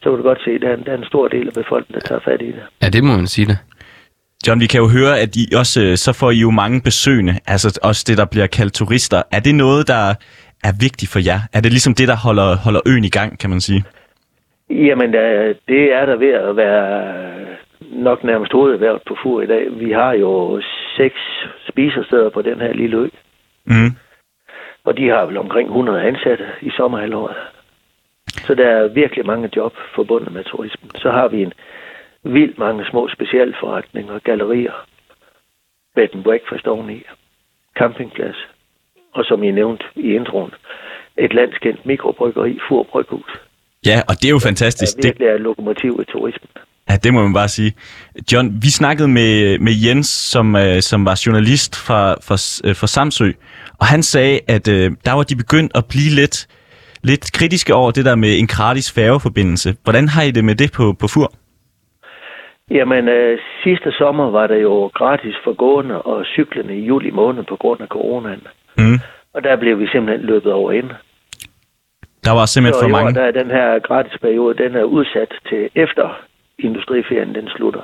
Speaker 6: Så kan du godt se, at der er en, der er en stor del af befolkningen, der tager fat i det.
Speaker 3: Ja, det må man sige det.
Speaker 2: John, vi kan jo høre, at I også, øh, så får I jo mange besøgende, altså også det, der bliver kaldt turister. Er det noget, der er vigtigt for jer? Er det ligesom det, der holder, holder øen i gang, kan man sige?
Speaker 6: Jamen, øh, det er der ved at være nok nærmest hovedværd på fur i dag. Vi har jo seks spisesteder på den her lille ø,
Speaker 2: Mm.
Speaker 6: og de har vel omkring 100 ansatte i sommerhalvåret. Så der er virkelig mange job forbundet med turismen. Så har vi en vildt mange små specialforretninger og gallerier. Bed and breakfast oveni. Campingplads. Og som I nævnte i introen, et landskendt mikrobryggeri, Furbryghus,
Speaker 2: Ja, og det er jo
Speaker 6: der
Speaker 2: fantastisk. Det,
Speaker 6: virkelig er et lokomotiv i turismen.
Speaker 2: ja, det må man bare sige. John, vi snakkede med, med Jens, som, øh, som var journalist fra, fra, S- øh, fra Samsø, og han sagde, at øh, der var de begyndt at blive lidt, lidt kritiske over det der med en gratis færgeforbindelse. Hvordan har I det med det på, på fur?
Speaker 6: Jamen, øh, sidste sommer var det jo gratis for gående og cyklende i juli måned på grund af coronaen.
Speaker 2: Mm.
Speaker 6: Og der blev vi simpelthen løbet over ende.
Speaker 2: Der var simpelthen
Speaker 6: Så
Speaker 2: for
Speaker 6: i år,
Speaker 2: mange.
Speaker 6: der er den her gratisperiode, den er udsat til efter industriferien, den slutter.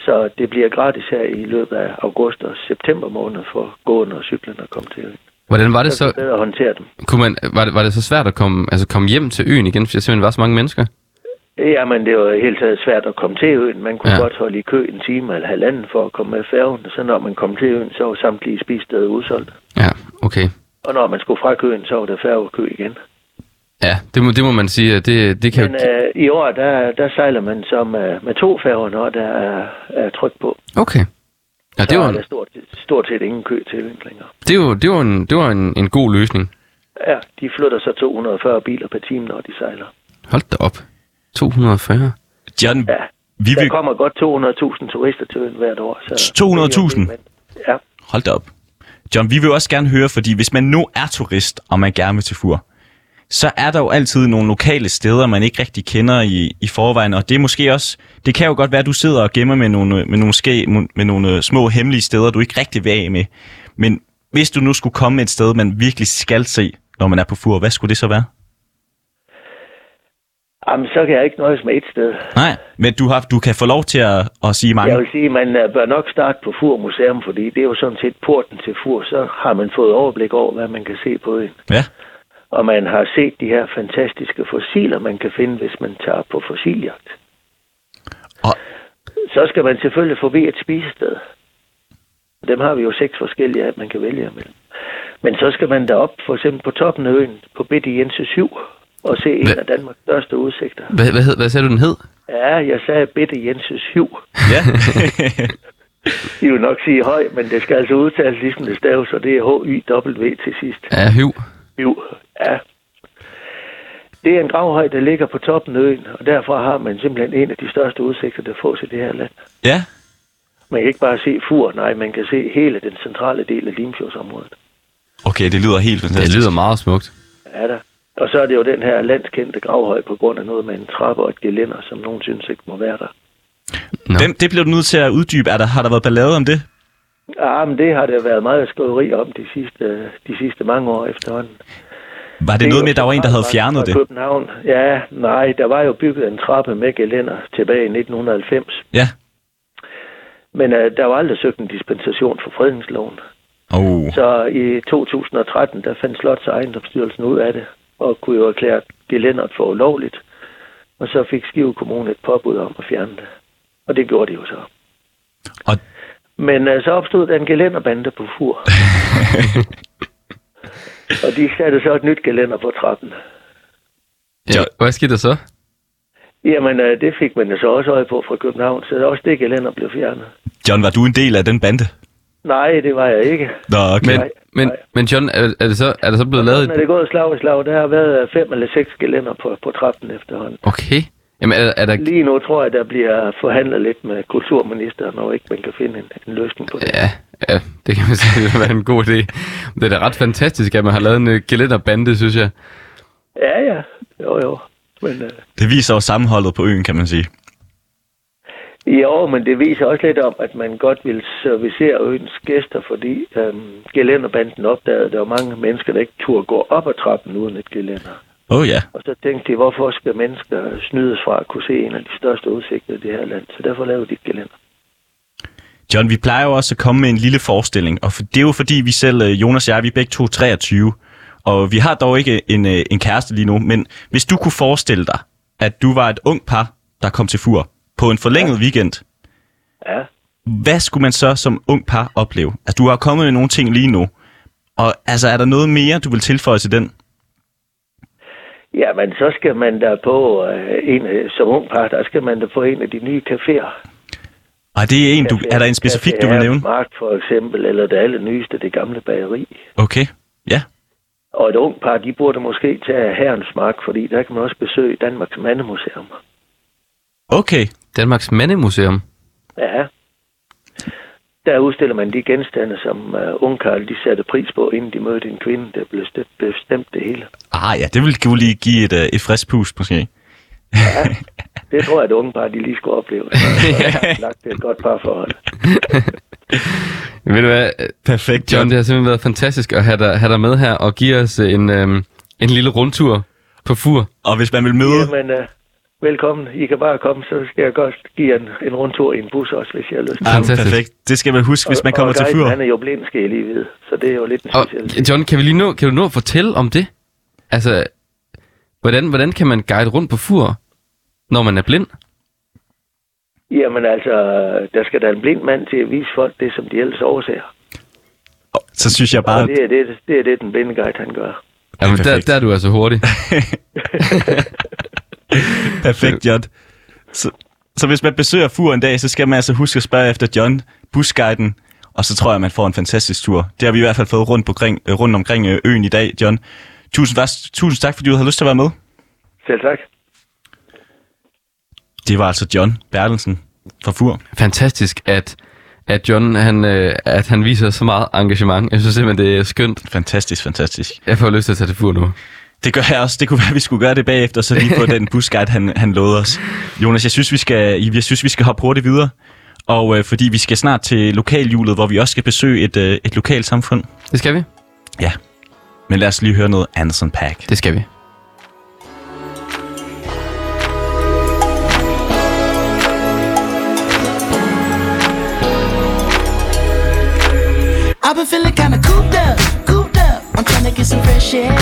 Speaker 6: Så det bliver gratis her i løbet af august og september måned for gående og cyklerne at komme til. øen.
Speaker 3: Hvordan var det
Speaker 6: Så er
Speaker 3: så?
Speaker 6: Altså, det bedre at håndtere dem.
Speaker 3: Kunne man, var, det, var det så svært at komme, altså komme hjem til øen igen, fordi der simpelthen var så mange mennesker?
Speaker 6: Jamen, det var i hele taget svært at komme til øen. Man kunne
Speaker 3: Ja.
Speaker 6: ja. godt holde i kø en time eller halvanden for at komme med færgen. Så når man kom til øen, så var samtlige spisesteder udsolgt.
Speaker 3: Ja, okay.
Speaker 6: Og når man skulle fra køen, så var der færgekø igen.
Speaker 3: Ja, det må, det må man sige, at det, det kan
Speaker 6: Men
Speaker 3: jo... gi-
Speaker 6: øh, i år, der, der sejler man så med, med to færger, når der er, er tryk på.
Speaker 3: Okay. Ja, det
Speaker 6: så
Speaker 3: var,
Speaker 6: er
Speaker 3: en,
Speaker 6: der stort, stort set ingen kø til øen længere.
Speaker 3: det var, det var, en, det var en, en god løsning.
Speaker 6: Ja, de flytter så 240 biler per time, når de sejler.
Speaker 3: Hold da op. 240.
Speaker 2: John,
Speaker 6: Ja,
Speaker 2: vi
Speaker 6: der
Speaker 2: vil...
Speaker 6: kommer godt 200.000 turister til øen hvert år. Så
Speaker 2: 200.000?
Speaker 6: Ja,
Speaker 2: Hold da op. John, vi vil også gerne høre, fordi hvis man nu er turist, og man gerne vil til Fur, så er der jo altid nogle lokale steder, man ikke rigtig kender i, i forvejen, og det er måske også, det kan jo godt være, at du sidder og gemmer med nogle, med nogle, ske, med nogle øh, små hemmelige steder, du ikke rigtig vil af med. Men hvis du nu skulle komme et sted, man virkelig skal se, når man er på Fur, hvad skulle det så være?
Speaker 6: Jamen, så kan jeg ikke nøjes med et sted.
Speaker 2: Nej, men du, har, du kan få lov til at, at sige mange.
Speaker 6: Jeg vil sige, man øh, bør nok starte på Fur Museum, fordi det er jo sådan set porten til Fur. Så har man fået overblik over, hvad man kan se på øen.
Speaker 2: Ja,
Speaker 6: Og man har set de her fantastiske fossiler, man kan finde, hvis man tager på fossiljagt.
Speaker 2: Og-
Speaker 6: Så skal man selvfølgelig forbi et spisested. Dem har vi jo seks forskellige, at man kan vælge imellem. Men så skal man derop, for eksempel på toppen af øen, på Bitte Jense 7, og se en
Speaker 3: Hva-
Speaker 6: af Danmarks største udsigter.
Speaker 3: Hvad, hvad, hed, hvad sagde du, den hed?
Speaker 6: Ja, jeg sagde Bitte Jense 7.
Speaker 2: ja.
Speaker 6: I vil nok sige høj, men det skal altså udtales ligesom det staves, og det er H-Y-W til sidst.
Speaker 3: Ja, hyv.
Speaker 6: Jo, ja. Det er en gravhøj, der ligger på toppen af øen, og derfor har man simpelthen en af de største udsigter, der fås i det her land.
Speaker 2: Ja.
Speaker 6: Man kan ikke bare se Fur, nej, man kan se hele den centrale del af Limfjordsområdet.
Speaker 2: Okay, det lyder helt fantastisk.
Speaker 3: Det lyder meget smukt.
Speaker 6: Er der. Og så er det jo den her landskendte gravhøj på grund af noget med en trappe og et gelænder, som nogen synes ikke må være der.
Speaker 3: Nå.
Speaker 2: Den, det blev du nødt til at uddybe. Er der, har der været ballade om det?
Speaker 6: Ja, Ah, men det har der været meget skriveri om de sidste, de sidste mange år efterhånden.
Speaker 2: Var det noget med, at der var en, der havde
Speaker 6: Fra-
Speaker 2: fjernet
Speaker 6: fra
Speaker 2: det?
Speaker 6: København. Ja, nej, der var jo bygget en trappe med gelænder tilbage i 1990.
Speaker 2: Ja.
Speaker 6: Men øh, der var aldrig søgt en dispensation for fredningsloven.
Speaker 2: Oh.
Speaker 6: Så i 2013, der fandt Slots- og ejendomsstyrelsen ud af det, og kunne jo erklære gelænderet for ulovligt. Og så fik Skive Kommune et påbud om at fjerne det. Og det gjorde de jo så.
Speaker 2: Og
Speaker 6: Men øh, så opstod der en gelænderbande på fur. og de satte så et nyt gelænder på trappen.
Speaker 3: Ja, hvad skete der så?
Speaker 6: Jamen, øh, det fik man jo så også øje på fra København, så også det gelænder blev fjernet.
Speaker 2: John, var du en del af den bande?
Speaker 6: Nej, det var jeg ikke.
Speaker 2: Nå, okay.
Speaker 3: Men,
Speaker 6: Nej,
Speaker 3: men,
Speaker 6: nej.
Speaker 3: men John, er, er, det så, er der så blevet lavet...
Speaker 6: Når det er gået slag i slag, der har været øh, fem eller seks gelænder på, på trappen efterhånden.
Speaker 3: Okay. Jamen, er, er der...
Speaker 6: Lige nu tror jeg, der bliver forhandlet lidt med kulturministeren, og ikke man kan finde en, en løsning på det.
Speaker 3: Ja, ja, det kan man sige, det være en god idé. Det er da ret fantastisk, at man har lavet en øh, gelænderbande, synes jeg.
Speaker 6: Ja, ja. Jo, jo. Men, øh,
Speaker 2: Det viser jo sammenholdet på øen, kan man sige.
Speaker 6: Jo, men det viser også lidt om, at man godt ville servicere øens gæster, fordi øhm, gelænderbanden opdagede, at der var mange mennesker, der ikke turde gå op ad trappen uden et gelænder.
Speaker 2: Åh oh, ja.
Speaker 6: Og så tænkte de, hvorfor skal mennesker snydes fra at kunne se en af de største udsigter i det her land? Så derfor lavede de et gelænder.
Speaker 2: John, vi plejer jo også at komme med en lille forestilling, og for, det er jo fordi, vi selv, øh, Jonas og jeg, vi er begge to 23, og vi har dog ikke en, øh, en kæreste lige nu, men hvis du kunne forestille dig, at du var et ung par, der kom til fur på en forlænget ja. weekend,
Speaker 6: Ja.
Speaker 2: hvad skulle man så som ung par opleve? Altså, du har kommet med nogle ting lige nu, og altså, er der noget mere, du vil tilføje til den?
Speaker 6: Ja, men så skal man da på øh, en, øh, som ung par, der skal man da på en af de nye caféer.
Speaker 2: Og det er en, du, er der en specifik, du vil nævne?
Speaker 6: Mark for eksempel, eller det allernyeste, det gamle bageri.
Speaker 2: Okay, ja.
Speaker 6: Og et ung par, de burde måske tage Herrens Mark, fordi der kan man også besøge Danmarks Mandemuseum.
Speaker 2: Okay,
Speaker 3: Danmarks Mandemuseum.
Speaker 6: Ja. Der udstiller man de genstande, som uh, ungkarl de satte pris på, inden de mødte en kvinde, der blev stemt, bestemt det hele.
Speaker 2: ah ja, det vil jo lige give et, øh, et frisk pust, måske.
Speaker 6: Det tror jeg, at unge par, de lige skulle opleve. Så, så lagt det et godt parforhold.
Speaker 3: Ved du hvad, øh,
Speaker 2: Perfekt,
Speaker 3: John, det har simpelthen været fantastisk at have dig, have dig med her og give os øh, en, øhm, en lille rundtur på fur.
Speaker 2: Og hvis man vil møde...
Speaker 6: Jamen, uh, velkommen. I kan bare komme, så skal jeg godt give jer en, en rundtur i en bus også, hvis jeg har lyst.
Speaker 2: Ej, men
Speaker 3: Fantastisk.
Speaker 2: perfekt. Det skal man huske, hvis man kommer
Speaker 6: og,
Speaker 2: til
Speaker 6: og guiden,
Speaker 2: Fur.
Speaker 6: han er jo blind, skal jeg lige vide. Så det er jo lidt en
Speaker 3: Og
Speaker 6: speciel.
Speaker 3: John, kan, vi lige nå, kan du nå at fortælle om det? Altså, hvordan, hvordan kan man guide rundt på fur, når man er blind?
Speaker 6: Jamen altså, der skal der en blind mand til at vise folk det, som de ellers overser.
Speaker 2: Så synes jeg bare...
Speaker 6: Og det er det, det, er det den blinde guide, han gør.
Speaker 3: Jamen, der,
Speaker 2: perfekt.
Speaker 3: der er du altså hurtig.
Speaker 2: Perfekt, John. Så, så hvis man besøger Fur en dag, så skal man altså huske at spørge efter John, busguiden, og så tror jeg, man får en fantastisk tur. Det har vi i hvert fald fået rundt, på kring, øh, rundt omkring øh, øen i dag, John. Tusind, vas- tusind tak, fordi du havde lyst til at være med.
Speaker 6: Selv tak.
Speaker 2: Det var altså John Bertelsen fra Fur.
Speaker 3: Fantastisk, at, at John han, øh, at han viser så meget engagement. Jeg synes simpelthen, det er skønt.
Speaker 2: Fantastisk, fantastisk.
Speaker 3: Jeg får lyst til at tage til fur nu.
Speaker 2: Det gør jeg også. Det kunne være, at vi skulle gøre det bagefter, så lige på den busguide, han, han lovede os. Jonas, jeg synes, vi skal, jeg synes, vi skal hoppe hurtigt videre. Og øh, fordi vi skal snart til lokalhjulet, hvor vi også skal besøge et, øh, et lokalt samfund.
Speaker 3: Det skal vi.
Speaker 2: Ja. Men lad os lige høre noget Anderson Pack.
Speaker 3: Det skal vi.
Speaker 7: I've been feeling kinda cooped up, cooped up. I'm tryna get some fresh air.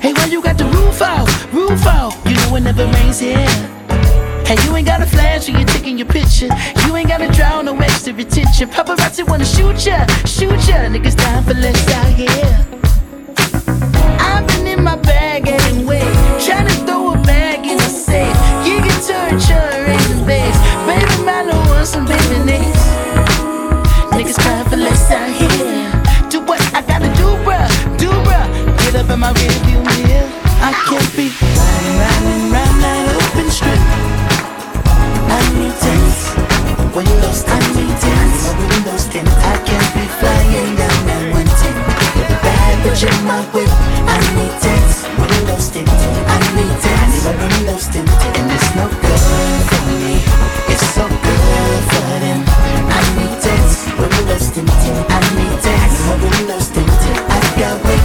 Speaker 7: Hey, well, you got the roof out, roof out. You know it never rains here. Hey, you ain't got a flash when you're taking your picture. You ain't gotta draw no extra attention. Paparazzi wanna shoot ya, shoot ya. Niggas dying for less out here. I've been in my bag anyway. Tryna throw a bag in the safe. You can turn your in base. Baby, man, I want some baby names. Niggas crying for less out here. Do what I gotta do, bruh, do bruh. Get up in my rearview mirror. I can't be riding round and round that open strip. I need tents, windows tint. I need tents, windows tint. I can't be flying down that one tent. With the baggage in my whip, I need tents, windows tint. I need tents, windows tint. And it's no good for me. It's so good for them. I need tents, windows tint. I need tents, windows tint. I've got way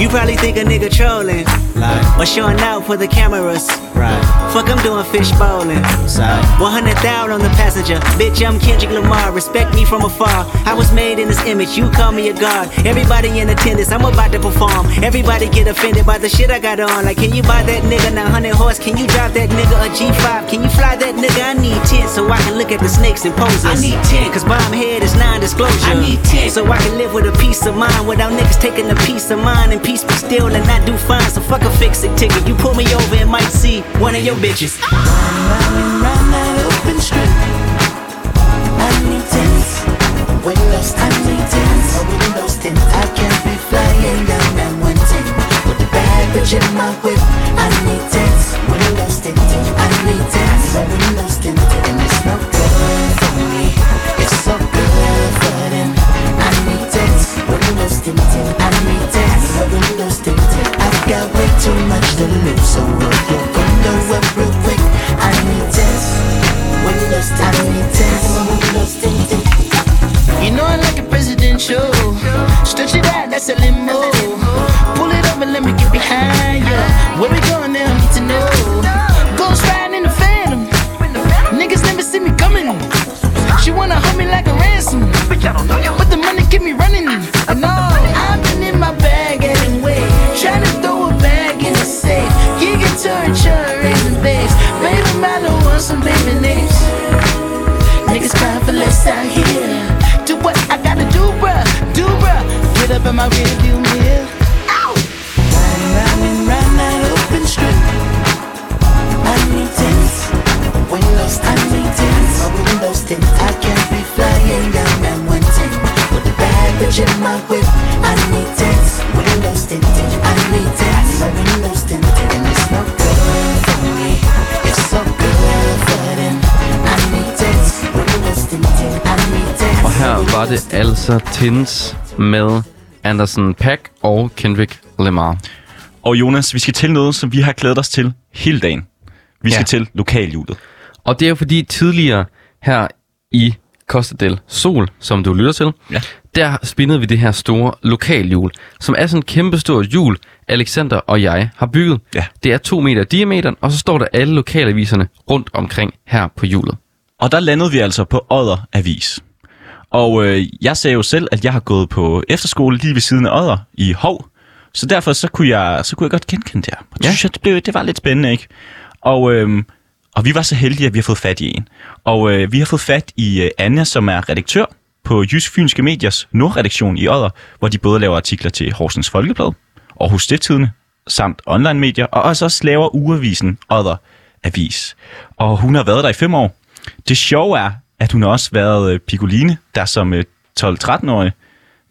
Speaker 8: You probably think a nigga trolling or showing out for the cameras. Right. Fuck, I'm doing fish bowling. 100,000 on the passenger. Bitch, I'm Kendrick Lamar. Respect me from afar. I was made in this image. You call me a god. Everybody in attendance. I'm about to perform. Everybody get offended by the shit I got on. Like, can you buy that nigga 900 horse? Can you drive that nigga a G5? Can you fly that nigga? I need 10 so I can look at the snakes and poses. I need 10 cause bomb head is non-disclosure. I need 10 so I can live with a peace of mind without niggas taking a piece of mine and peace be still and not do fine. So fuck a fix it ticket. You pull me over and might see one of your bitches.
Speaker 7: round that open strip. I need tents, windows tint. I need tents, windows tint. I can't be flying down that one tent with the baggage in my whip. I need tents, windows tint. I need tents, windows tint. And it's no good for me. It's so good for them. I need tents, windows tint. I need tents, windows tint. I've got way too much to lose, so we'll walk under it real quick. I need tents, windows tint. I need tents, windows tint. You know I like a presidential. Stretch it out, that's a limo. Pull it up and let me get behind ya. Where we going? They don't need to know. Ghost riding in the Phantom. Niggas never see me coming. She wanna hold me like a ransom. But the money keep me running. And no, I've been in my bag anyway. Trying to throw it back in the safe. Giga torture in the base. Baby, I don't want some baby names. Niggas crying for less out here. Do what I gotta do, bruh. Do bruh. Get up in my rearview mirror. Ow! Round and round and round that open strip. I need tents, windows. I need tents, windows tint. I can't be flying down that one tent with the baggage in my whip. I need tents, windows tint. I need tents, windows tint. And it's no good for me. It's so good for them. I need tents, windows tint. I need tents.
Speaker 3: Og her var det altså Tins med Anderson Pack og Kendrick Lamar.
Speaker 2: Og Jonas, vi skal til noget, som vi har glædet os til hele dagen. Vi skal
Speaker 3: Ja.
Speaker 2: til lokalhjulet.
Speaker 3: Og det er jo fordi tidligere her i Costa del Sol, som du lytter til,
Speaker 2: Ja.
Speaker 3: der spinnede vi det her store lokalhjul, som er sådan et kæmpestort hjul, Alexander og jeg har bygget.
Speaker 2: Ja.
Speaker 3: Det er to meter i diameteren, og så står der alle lokalaviserne rundt omkring her på hjulet.
Speaker 2: Og der landede vi altså på Odder Avis. Og øh, jeg sagde jo selv, at jeg har gået på efterskole lige ved siden af Odder i Hov. Så derfor så kunne jeg, så kunne jeg godt genkende det her. Og det, ja. synes jeg, det, blev, det var lidt spændende, ikke? Og, øh, og vi var så heldige, at vi har fået fat i en. Og øh, vi har fået fat i øh, Anja, som er redaktør på Jysk Fynske Mediers Nordredaktion i Odder, hvor de både laver artikler til Horsens Folkeblad, Aarhus Stiftstidende, samt online-medier, og også også laver ugeavisen Odder Avis. Og hun har været der i fem år. Det sjove er, at hun har også været øh, Piccoline, der som øh, 12-13-årig,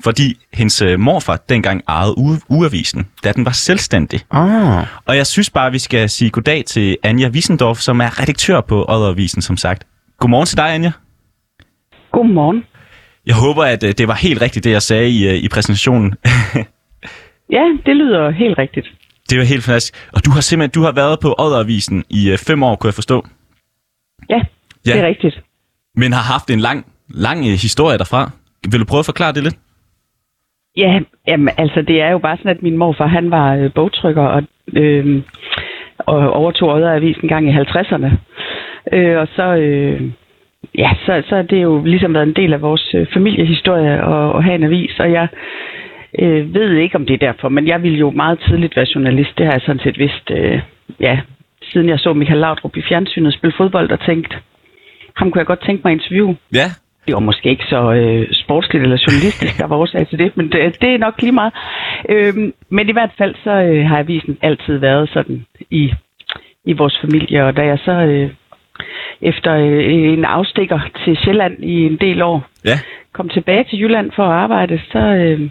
Speaker 2: fordi hendes øh, morfar dengang ejede uge- ugeavisen, da den var selvstændig.
Speaker 3: Ah.
Speaker 2: Og jeg synes bare, vi skal sige goddag til Anja Wiesendorf, som er redaktør på Odderavisen, som sagt. Godmorgen til dig, Anja.
Speaker 9: Godmorgen.
Speaker 2: Jeg håber, at øh, det var helt rigtigt, det jeg sagde i, øh, i præsentationen.
Speaker 9: Ja, det lyder helt rigtigt.
Speaker 2: det var helt fantastisk. Og du har simpelthen du har været på Odderavisen i øh, fem år, kunne jeg forstå.
Speaker 9: Ja,
Speaker 2: Ja.
Speaker 9: ja. det er rigtigt.
Speaker 2: Men har haft en lang, lang øh, historie derfra. Vil du prøve at forklare det lidt?
Speaker 9: Ja, jamen, altså det er jo bare sådan, at min morfar, han var øh, bogtrykker og, øh, og overtog Odder Avis en gang i 50'erne. Øh, og så, øh, ja, så, så har det jo ligesom været en del af vores øh, familiehistorie at, at have en avis, og jeg øh, ved ikke, om det er derfor, men jeg ville jo meget tidligt være journalist, det har jeg sådan set vidst, øh, ja, siden jeg så Michael Laudrup i fjernsynet spille fodbold og tænkte, ham kunne jeg godt tænke mig at interviewe.
Speaker 2: Ja.
Speaker 9: det var måske ikke så øh, sportsligt eller journalistisk, der var årsag til det, men det, det er nok lige meget. Øhm, men i hvert fald så øh, har avisen altid været sådan i, i vores familie, og da jeg så øh, efter øh, en afstikker til Sjælland i en del år.
Speaker 2: Ja.
Speaker 9: Kom tilbage til Jylland for at arbejde, så, øh,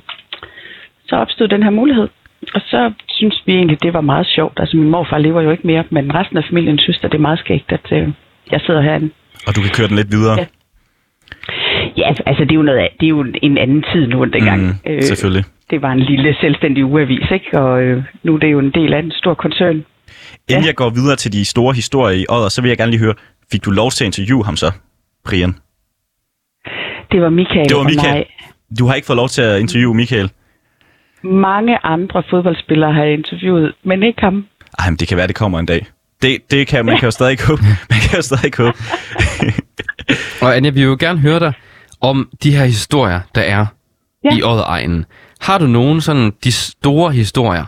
Speaker 9: så opstod den her mulighed. Og så synes vi egentlig, det var meget sjovt. Altså min morfar lever jo ikke mere, men resten af familien synes, at det er meget skægt, at øh, jeg sidder herinde.
Speaker 2: Og du kan køre den lidt videre.
Speaker 9: Ja. Ja, altså det er jo, noget af, det er jo en anden tid nu end dengang.
Speaker 2: Mm, selvfølgelig.
Speaker 9: det var en lille selvstændig ugeavis, ikke? Og øh, nu er det jo en del af en stor koncern.
Speaker 2: Inden jeg går videre til de store historier i Odder, så vil jeg gerne lige høre, fik du lov til at interviewe ham så, Brian?
Speaker 9: Det var Michael,
Speaker 2: Det var
Speaker 9: og
Speaker 2: Michael.
Speaker 9: mig.
Speaker 2: Du har ikke fået lov til at interviewe Michael.
Speaker 9: Mange andre fodboldspillere har jeg interviewet, men ikke ham.
Speaker 2: Ej, men det kan være, det kommer en dag. Det, det kan, man kan jo stadig håbe. Man kan jo stadig håbe.
Speaker 3: Og Anja, vi vil jo gerne høre dig om de her historier, der er
Speaker 9: Ja.
Speaker 3: i Odderegnen. Har du nogen sådan de store historier?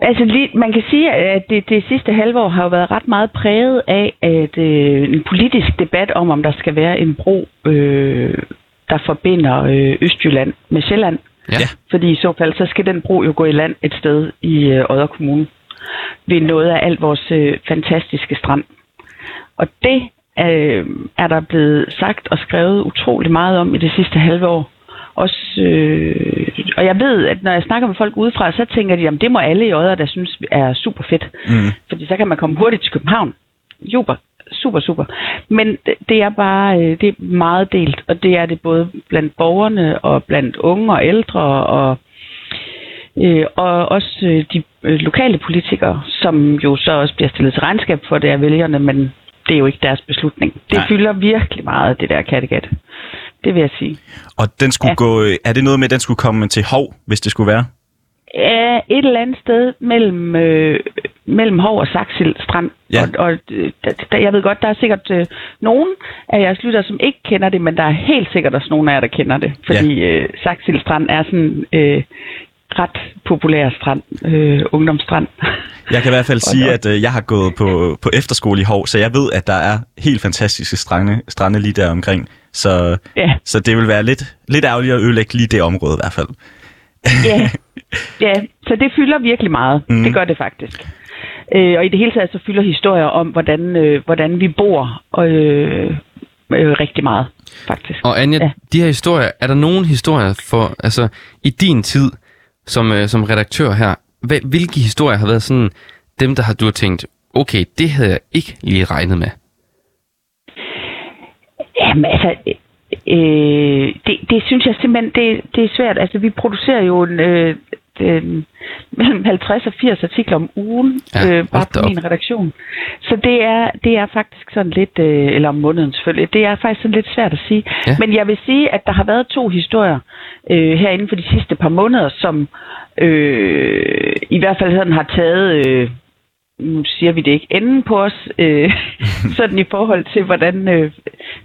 Speaker 9: Altså, lige, man kan sige, at det, det sidste halve år har jo været ret meget præget af at øh, en politisk debat om, om der skal være en bro, øh, der forbinder øh, Østjylland med Sjælland.
Speaker 3: Ja. ja.
Speaker 9: Fordi i så fald, så skal den bro jo gå i land et sted i øh, Odder Kommune. Ved noget af alt vores øh, fantastiske strand. Og det øh, er der blevet sagt og skrevet utrolig meget om i det sidste halve år. Også, øh, og jeg ved, at når jeg snakker med folk udefra, så tænker de, at det må alle i Odder, der synes er super fedt.
Speaker 2: Mm.
Speaker 9: Fordi så kan man komme hurtigt til København. Super, super, super. Men det- det er bare øh, det er meget delt, og det er det både blandt borgerne og blandt unge og ældre og øh, og også øh, de øh, lokale politikere, som jo så også bliver stillet til regnskab for det af vælgerne, men det er jo ikke deres beslutning. Det
Speaker 2: Nej.
Speaker 9: Nej. fylder virkelig meget, det der Kattegat. Det vil jeg sige.
Speaker 2: Og den skulle ja.
Speaker 9: Ja.
Speaker 2: gå... øh, Er det noget med, at den skulle komme til Hov, hvis det skulle være?
Speaker 9: Ja, et eller andet sted mellem, øh, mellem Hov og Saxil Strand.
Speaker 2: Ja.
Speaker 9: Og, og øh, der, der, jeg ved godt, der er sikkert øh, nogen af jeres lyttere, som ikke kender det, men der er helt sikkert også nogen af jer, der kender det. Fordi ja. øh, Saxil Strand er sådan øh, ret populær strand, øh, ungdomsstrand.
Speaker 2: Jeg kan i hvert fald
Speaker 9: Og-
Speaker 2: sige,
Speaker 9: og-
Speaker 2: at øh, jeg har gået på, på efterskole i Hov, så jeg ved, at der er helt fantastiske strande, strande lige der omkring. Så,
Speaker 9: Ja.
Speaker 2: så det vil være lidt, lidt ærgerligt at ødelægge lige det område i hvert fald.
Speaker 9: Ja, ja. så det fylder virkelig meget. Mm. Det gør det faktisk. Øh, og i det hele taget så fylder historier om, hvordan, øh, hvordan vi bor øh, øh, rigtig meget, faktisk.
Speaker 3: Og Anja, ja.
Speaker 9: Ja.
Speaker 3: de her historier, er der nogen historier for, altså i din tid som, øh, som redaktør her, hvad, hvilke historier har været sådan dem, der har du har tænkt, okay, det havde jeg ikke lige regnet med?
Speaker 9: Jamen altså, øh, det, det synes jeg simpelthen, det, det er svært. Altså vi producerer jo en, øh, den, mellem 50 og 80 artikler om ugen,
Speaker 3: Ja,
Speaker 9: ja, øh,
Speaker 3: hold
Speaker 9: bare
Speaker 3: da
Speaker 9: på
Speaker 3: op.
Speaker 9: min redaktion. Så det er, det er faktisk sådan lidt, øh, eller om måneden selvfølgelig, det er faktisk sådan lidt svært at sige.
Speaker 3: Ja.
Speaker 9: Ja. Men jeg vil sige, at der har været to historier øh, her inden for de sidste par måneder, som øh, i hvert fald sådan har taget... Øh, nu siger vi det ikke, enden på os, øh, sådan i forhold til, hvordan, øh,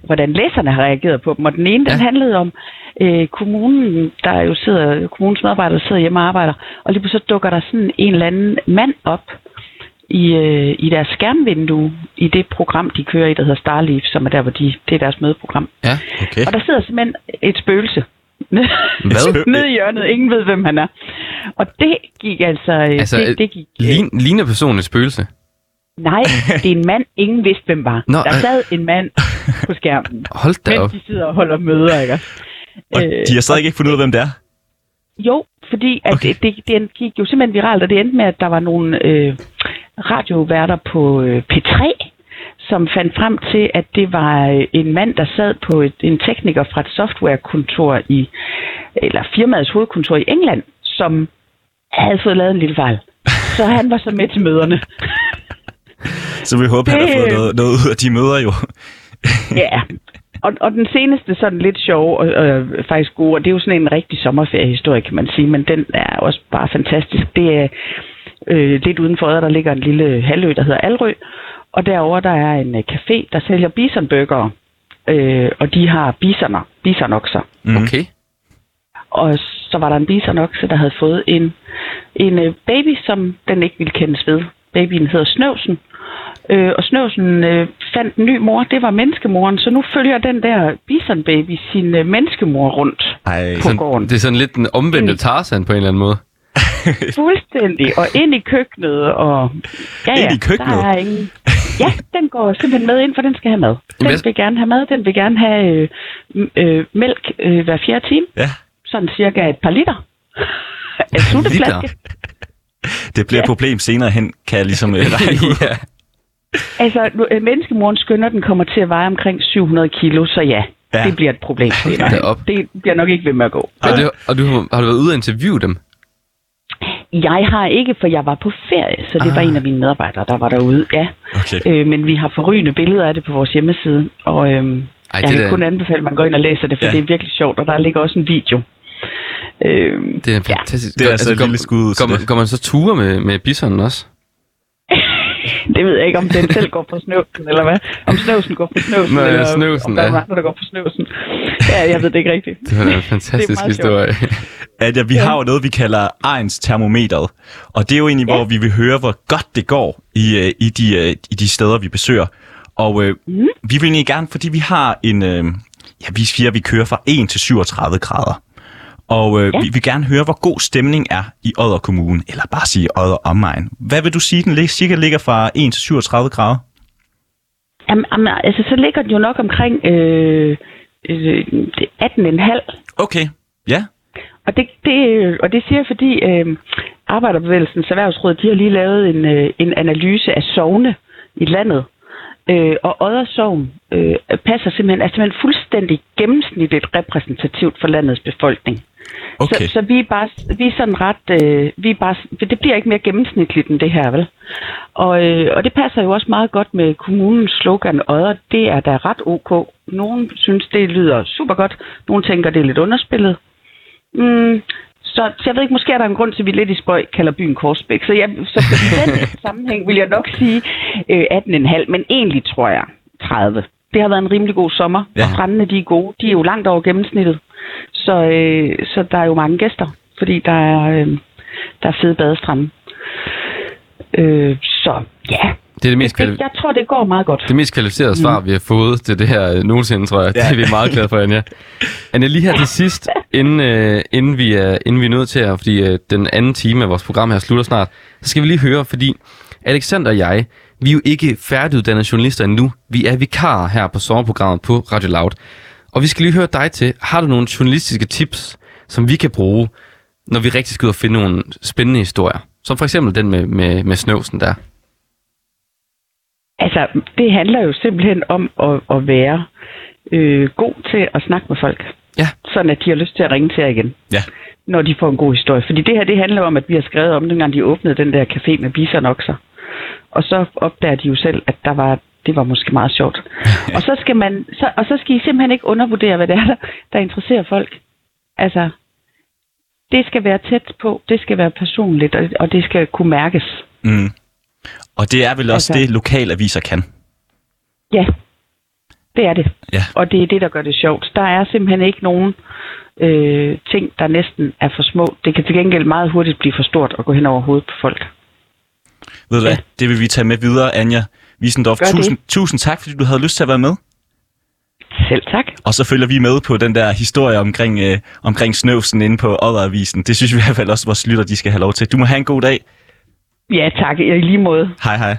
Speaker 9: hvordan læserne har reageret på dem. Og den ene, den
Speaker 3: Ja.
Speaker 9: handlede om øh, kommunen, der jo sidder, kommunens medarbejdere sidder hjemme og arbejder, og lige pludselig så dukker der sådan en eller anden mand op i, øh, i deres skærmvindue, i det program, de kører i, der hedder Starleaf, som er der, hvor de, det er deres mødeprogram.
Speaker 3: Ja,
Speaker 2: Okay.
Speaker 9: Og der sidder simpelthen et spøgelse.
Speaker 3: Hvad?
Speaker 9: Nede i hjørnet. Ingen ved, hvem han er. Og det gik altså...
Speaker 3: Altså,
Speaker 9: altså det, det gik, øh,
Speaker 3: Lign, ligner personen et spøgelse?
Speaker 9: Nej, det er en mand, ingen vidste, hvem var.
Speaker 3: Nå,
Speaker 9: Nå, der
Speaker 3: øh.
Speaker 9: sad en mand på skærmen,
Speaker 3: Hold da op.
Speaker 9: mens de sidder og holder møder, ikke? også?
Speaker 2: Og
Speaker 9: Øh,
Speaker 2: de har stadig ikke fundet ud af, hvem det er.
Speaker 9: Jo, fordi at
Speaker 2: Okay.
Speaker 9: okay. det, det, det gik jo simpelthen viralt, og det endte med, at der var nogle øh, radioværter på øh, P3, som fandt frem til, at det var øh, en mand, der sad på et, en tekniker fra et softwarekontor i, eller firmaets hovedkontor i England, som havde fået lavet en lille fejl. Så han var så med til møderne.
Speaker 2: Så vi håber, han har fået
Speaker 9: Det-
Speaker 2: noget, noget ud af de møder jo.
Speaker 9: Ja, og, og den seneste sådan lidt sjov og, og faktisk god, og det er jo sådan en rigtig sommerferiehistorie, kan man sige, men den er også bare fantastisk. Det er øh, lidt udenfor, der ligger en lille halvø, der hedder Alrø, og derover der er en øh, café, der sælger bisonburgere, øh, og de har bisoner, bisonokser.
Speaker 2: Mm.
Speaker 3: Okay.
Speaker 9: Og så var der en bisonokse, der havde fået en, en øh, baby, som den ikke ville kendes ved. Babyen hedder Snøvsen. Øh, og Snøvsen øh, fandt en ny mor, det var menneskemoren, så nu følger den der bisonbaby sin øh, menneskemor rundt
Speaker 2: Ej,
Speaker 9: på gården.
Speaker 3: Det er sådan lidt den omvendte Tarzan på en eller anden måde.
Speaker 9: Fuldstændig. Og ind i køkkenet. Og, ja, ja,
Speaker 2: Ind i køkkenet?
Speaker 9: Der er ingen, Ja, den går simpelthen med ind, for den skal have mad. Den
Speaker 3: Jamen, jeg-
Speaker 9: vil gerne have mad, den vil gerne have øh, m- øh, mælk øh, hver fjerde time.
Speaker 2: Ja.
Speaker 9: Sådan cirka et par liter. En sutteflaske.
Speaker 2: Det bliver et problem senere hen, kan jeg ligesom øh, regne ud.
Speaker 3: ja.
Speaker 9: Altså, nu, øh, menneskemoren skynder, den kommer til at veje omkring 700 kilo, så ja,
Speaker 2: Ja.
Speaker 9: ja. det bliver et problem. senere hen.
Speaker 3: Derop.
Speaker 9: Det bliver nok ikke ved med at gå.
Speaker 3: Og, det, og du, har- har du været ude og interviewe dem?
Speaker 9: Jeg har ikke, for jeg var på ferie, så det ah. var en af mine medarbejdere, der var derude. Ja.
Speaker 2: Okay.
Speaker 9: Øh, men vi har forrygende billeder af det på vores hjemmeside, og øhm, Ej, jeg
Speaker 3: det
Speaker 9: kan
Speaker 3: der-
Speaker 9: kun anbefale, at man går ind og læser det, for
Speaker 2: Ja.
Speaker 9: ja. det er virkelig sjovt, og der ligger også en video. Øhm,
Speaker 3: Det er fantastisk.
Speaker 2: Det er altså et lille skud ud til
Speaker 3: går, man,
Speaker 2: det.
Speaker 3: går man så ture med, med bisonen også?
Speaker 9: det ved jeg ikke, om den selv går på snøvsen, eller hvad? Om snøvsen går på snøvsen,
Speaker 3: Nå, ja,
Speaker 9: eller
Speaker 3: snøvsen,
Speaker 9: om der er
Speaker 3: ja.
Speaker 9: nogle andre, der går på snøvsen. Ja, jeg ved det ikke rigtigt.
Speaker 3: Det var da en fantastisk
Speaker 9: meget
Speaker 3: historie.
Speaker 2: at ja, vi har jo noget, vi kalder Ejens termometeret. Og det er jo egentlig, hvor vi vil høre, hvor godt det går i, øh, i, de, øh, i de steder, vi besøger. Og øh, mm. vi vil egentlig gerne, fordi vi har en... Øh, ja, vi siger, vi kører fra 1 til 37 grader. Og øh, ja. vi vil gerne høre, hvor god stemning er i Odder Kommune, eller bare sige Odder omegn. Hvad vil du sige, den lig- cirka ligger fra 1 til 37 grader?
Speaker 9: Jamen, jamen, altså, så ligger den jo nok omkring øh, øh, 18,5
Speaker 2: Okay, ja.
Speaker 9: Og det, det, øh, og det siger jeg, fordi øh, Arbejderbevægelsens Erhvervsråd de har lige lavet en, øh, en analyse af sovne i landet. Øh, og Odder Sogn øh, passer simpelthen, er simpelthen fuldstændig gennemsnitligt repræsentativt for landets befolkning.
Speaker 2: Okay.
Speaker 9: Så, så vi er bare, vi er sådan ret, øh, vi er bare, det bliver ikke mere gennemsnitligt end det her, vel? Og, øh, og det passer jo også meget godt med kommunens slogan, Odder, det er da ret ok. Nogen synes, det lyder super godt, nogen tænker, det er lidt underspillet. Mm, så, så jeg ved ikke, måske er der en grund til, at vi lidt i spøj kalder byen Korsbæk. Så, jeg, så i den sammenhæng vil jeg nok sige øh, 18,5, men egentlig tror jeg 30. Det har været en rimelig god sommer.
Speaker 2: Ja.
Speaker 9: Ja. Strandene de er gode. De er jo langt over gennemsnittet. Så, øh, så der er jo mange gæster, fordi der er, øh, der er fede badestrande. Øh, så ja,
Speaker 3: Det er det mest, kvali-
Speaker 9: det, jeg Mm. tror, det går meget godt.
Speaker 3: det mest kvalificerede svar, vi har fået til det her øh, nogensinde, tror jeg. Det er vi meget glade for, Anja. Anja, lige her til sidst, inden, øh, inden, vi er, inden vi er nødt til at, fordi øh, den anden time af vores program her slutter snart, så skal vi lige høre, fordi Alexander og jeg, vi er jo ikke færdiguddannede journalister endnu. Vi er vikarer her på sommerprogrammet på Radio Loud. Og vi skal lige høre dig til, har du nogle journalistiske tips, som vi kan bruge, når vi rigtig skal ud og finde nogle spændende historier? Som for eksempel den med, med, med snøvsen der.
Speaker 9: Altså, det handler jo simpelthen om at, at være øh, god til at snakke med folk.
Speaker 3: Ja.
Speaker 9: Sådan at de har lyst til at ringe til jer igen,
Speaker 2: Ja.
Speaker 9: når de får en god historie. Fordi det her, det handler om, at vi har skrevet om, dengang de åbnede den der café med bisonokser. Og så opdager de jo selv, at der var, det var måske meget sjovt. og, så skal man, så, og så skal I simpelthen ikke undervurdere, hvad det er, der, der interesserer folk. Altså, det skal være tæt på, det skal være personligt, og, og det skal kunne mærkes.
Speaker 2: Mm. Og det er vel også
Speaker 9: Altså-
Speaker 2: det, lokalaviser kan.
Speaker 9: Ja, det er det.
Speaker 2: Ja.
Speaker 9: Og det er det, der gør det sjovt. Der er simpelthen ikke nogen øh, ting, der næsten er for små. Det kan til gengæld meget hurtigt blive for stort og gå hen over hovedet på folk.
Speaker 2: Ved du
Speaker 9: Ja.
Speaker 2: hvad, det vil vi tage med videre, Anja Wiesendorf.
Speaker 9: Gør det.
Speaker 2: Tusind, tusind tak, fordi du havde lyst til at være med.
Speaker 9: Selv tak.
Speaker 2: Og så følger vi med på den der historie omkring, øh, omkring snøvsen inde på Odderavisen. Det synes vi i hvert fald også, vores lytter de skal have lov til. Du må have en god dag.
Speaker 9: Ja, tak. I lige måde.
Speaker 2: Hej hej.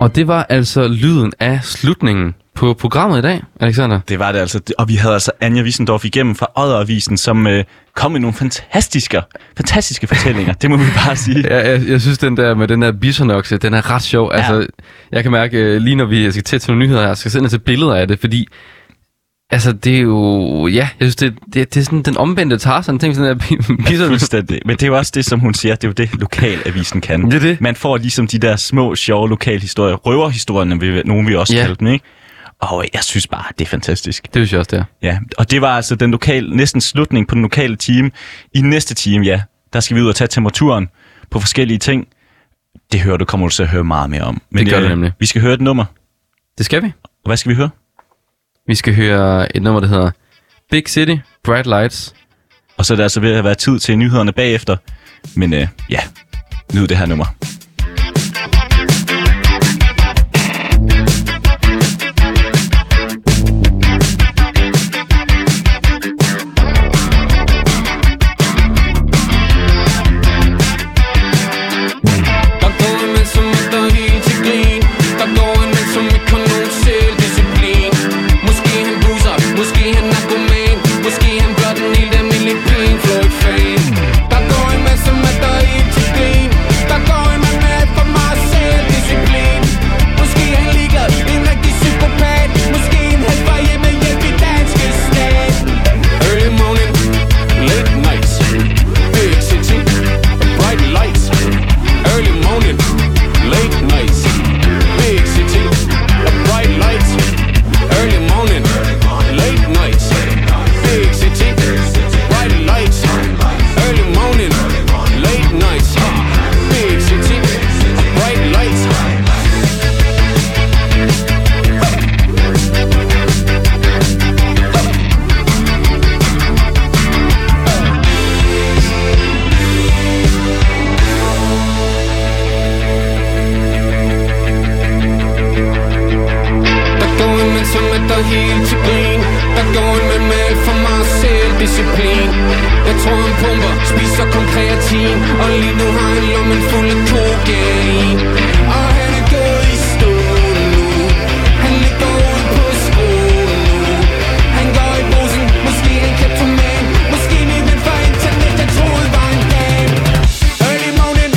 Speaker 3: Og det var altså lyden af slutningen på programmet i dag, Alexander.
Speaker 2: Det var det altså. Og vi havde altså Anja Wiesendorf igennem fra Odderavisen, som øh, kom med nogle fantastiske, fantastiske fortællinger. det må vi bare sige.
Speaker 3: Jeg, jeg, jeg synes, den der med den der bisonokse, den er ret sjov. Ja. Altså, jeg kan mærke, øh, lige når vi skal tæt til nogle nyheder her, skal jeg sende til billeder af det, fordi altså, det er jo... Ja, jeg synes, det, det, det er sådan den omvendte Tarzan, ting sådan der bi- bison.
Speaker 2: Fuldstændig. Men det er jo også det, som hun siger, det er jo det, lokalavisen kan.
Speaker 3: Det er det.
Speaker 2: Man får ligesom de der små, sjove lokalhistorier. Røverhistorierne, vil nogen vi også
Speaker 3: Ja.
Speaker 2: yeah. kalde dem, ikke? Og jeg synes bare, det er fantastisk.
Speaker 3: Det synes jeg også, det er.
Speaker 2: Ja, og det var altså den lokale, næsten slutning på den lokale time. I næste time, ja, der skal vi ud og tage temperaturen på forskellige ting. Det hører du, kommer du til at høre meget mere om. øh,
Speaker 3: Det gør det nemlig.
Speaker 2: Vi skal høre et nummer.
Speaker 3: Det skal vi.
Speaker 2: Og hvad skal vi høre?
Speaker 3: Vi skal høre et nummer, der hedder Big City, Bright Lights.
Speaker 2: Og så er det altså ved at være tid til nyhederne bagefter. Men øh, ja, nyd det her nummer.
Speaker 10: tråden pumper Spiser kun kreatin Og lige nu har han lommen fuld af kokain Og han er gået i stå nu Han ligger ude på skolen nu Han går i brusen Måske er han kleptoman Måske min ven fra internet Jeg troede var en dame Early morning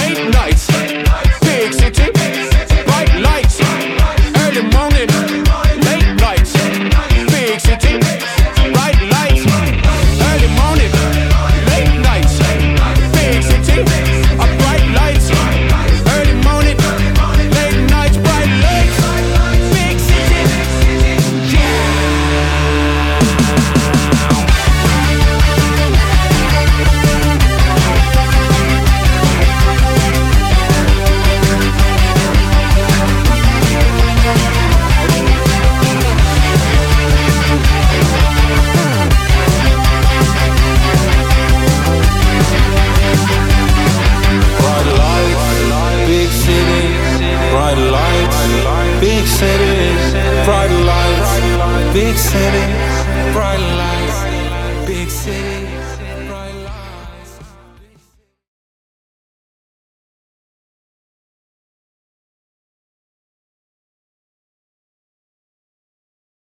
Speaker 10: Late nights Big city Bright lights Early morning Late nights Big city Bright lights Early morning Late nights Big city Og bright lights Early morning Late nights Bright lights Big city Yeah
Speaker 5: Bright lights, big city. Bright lights, big city. Bright lights, big city. Bright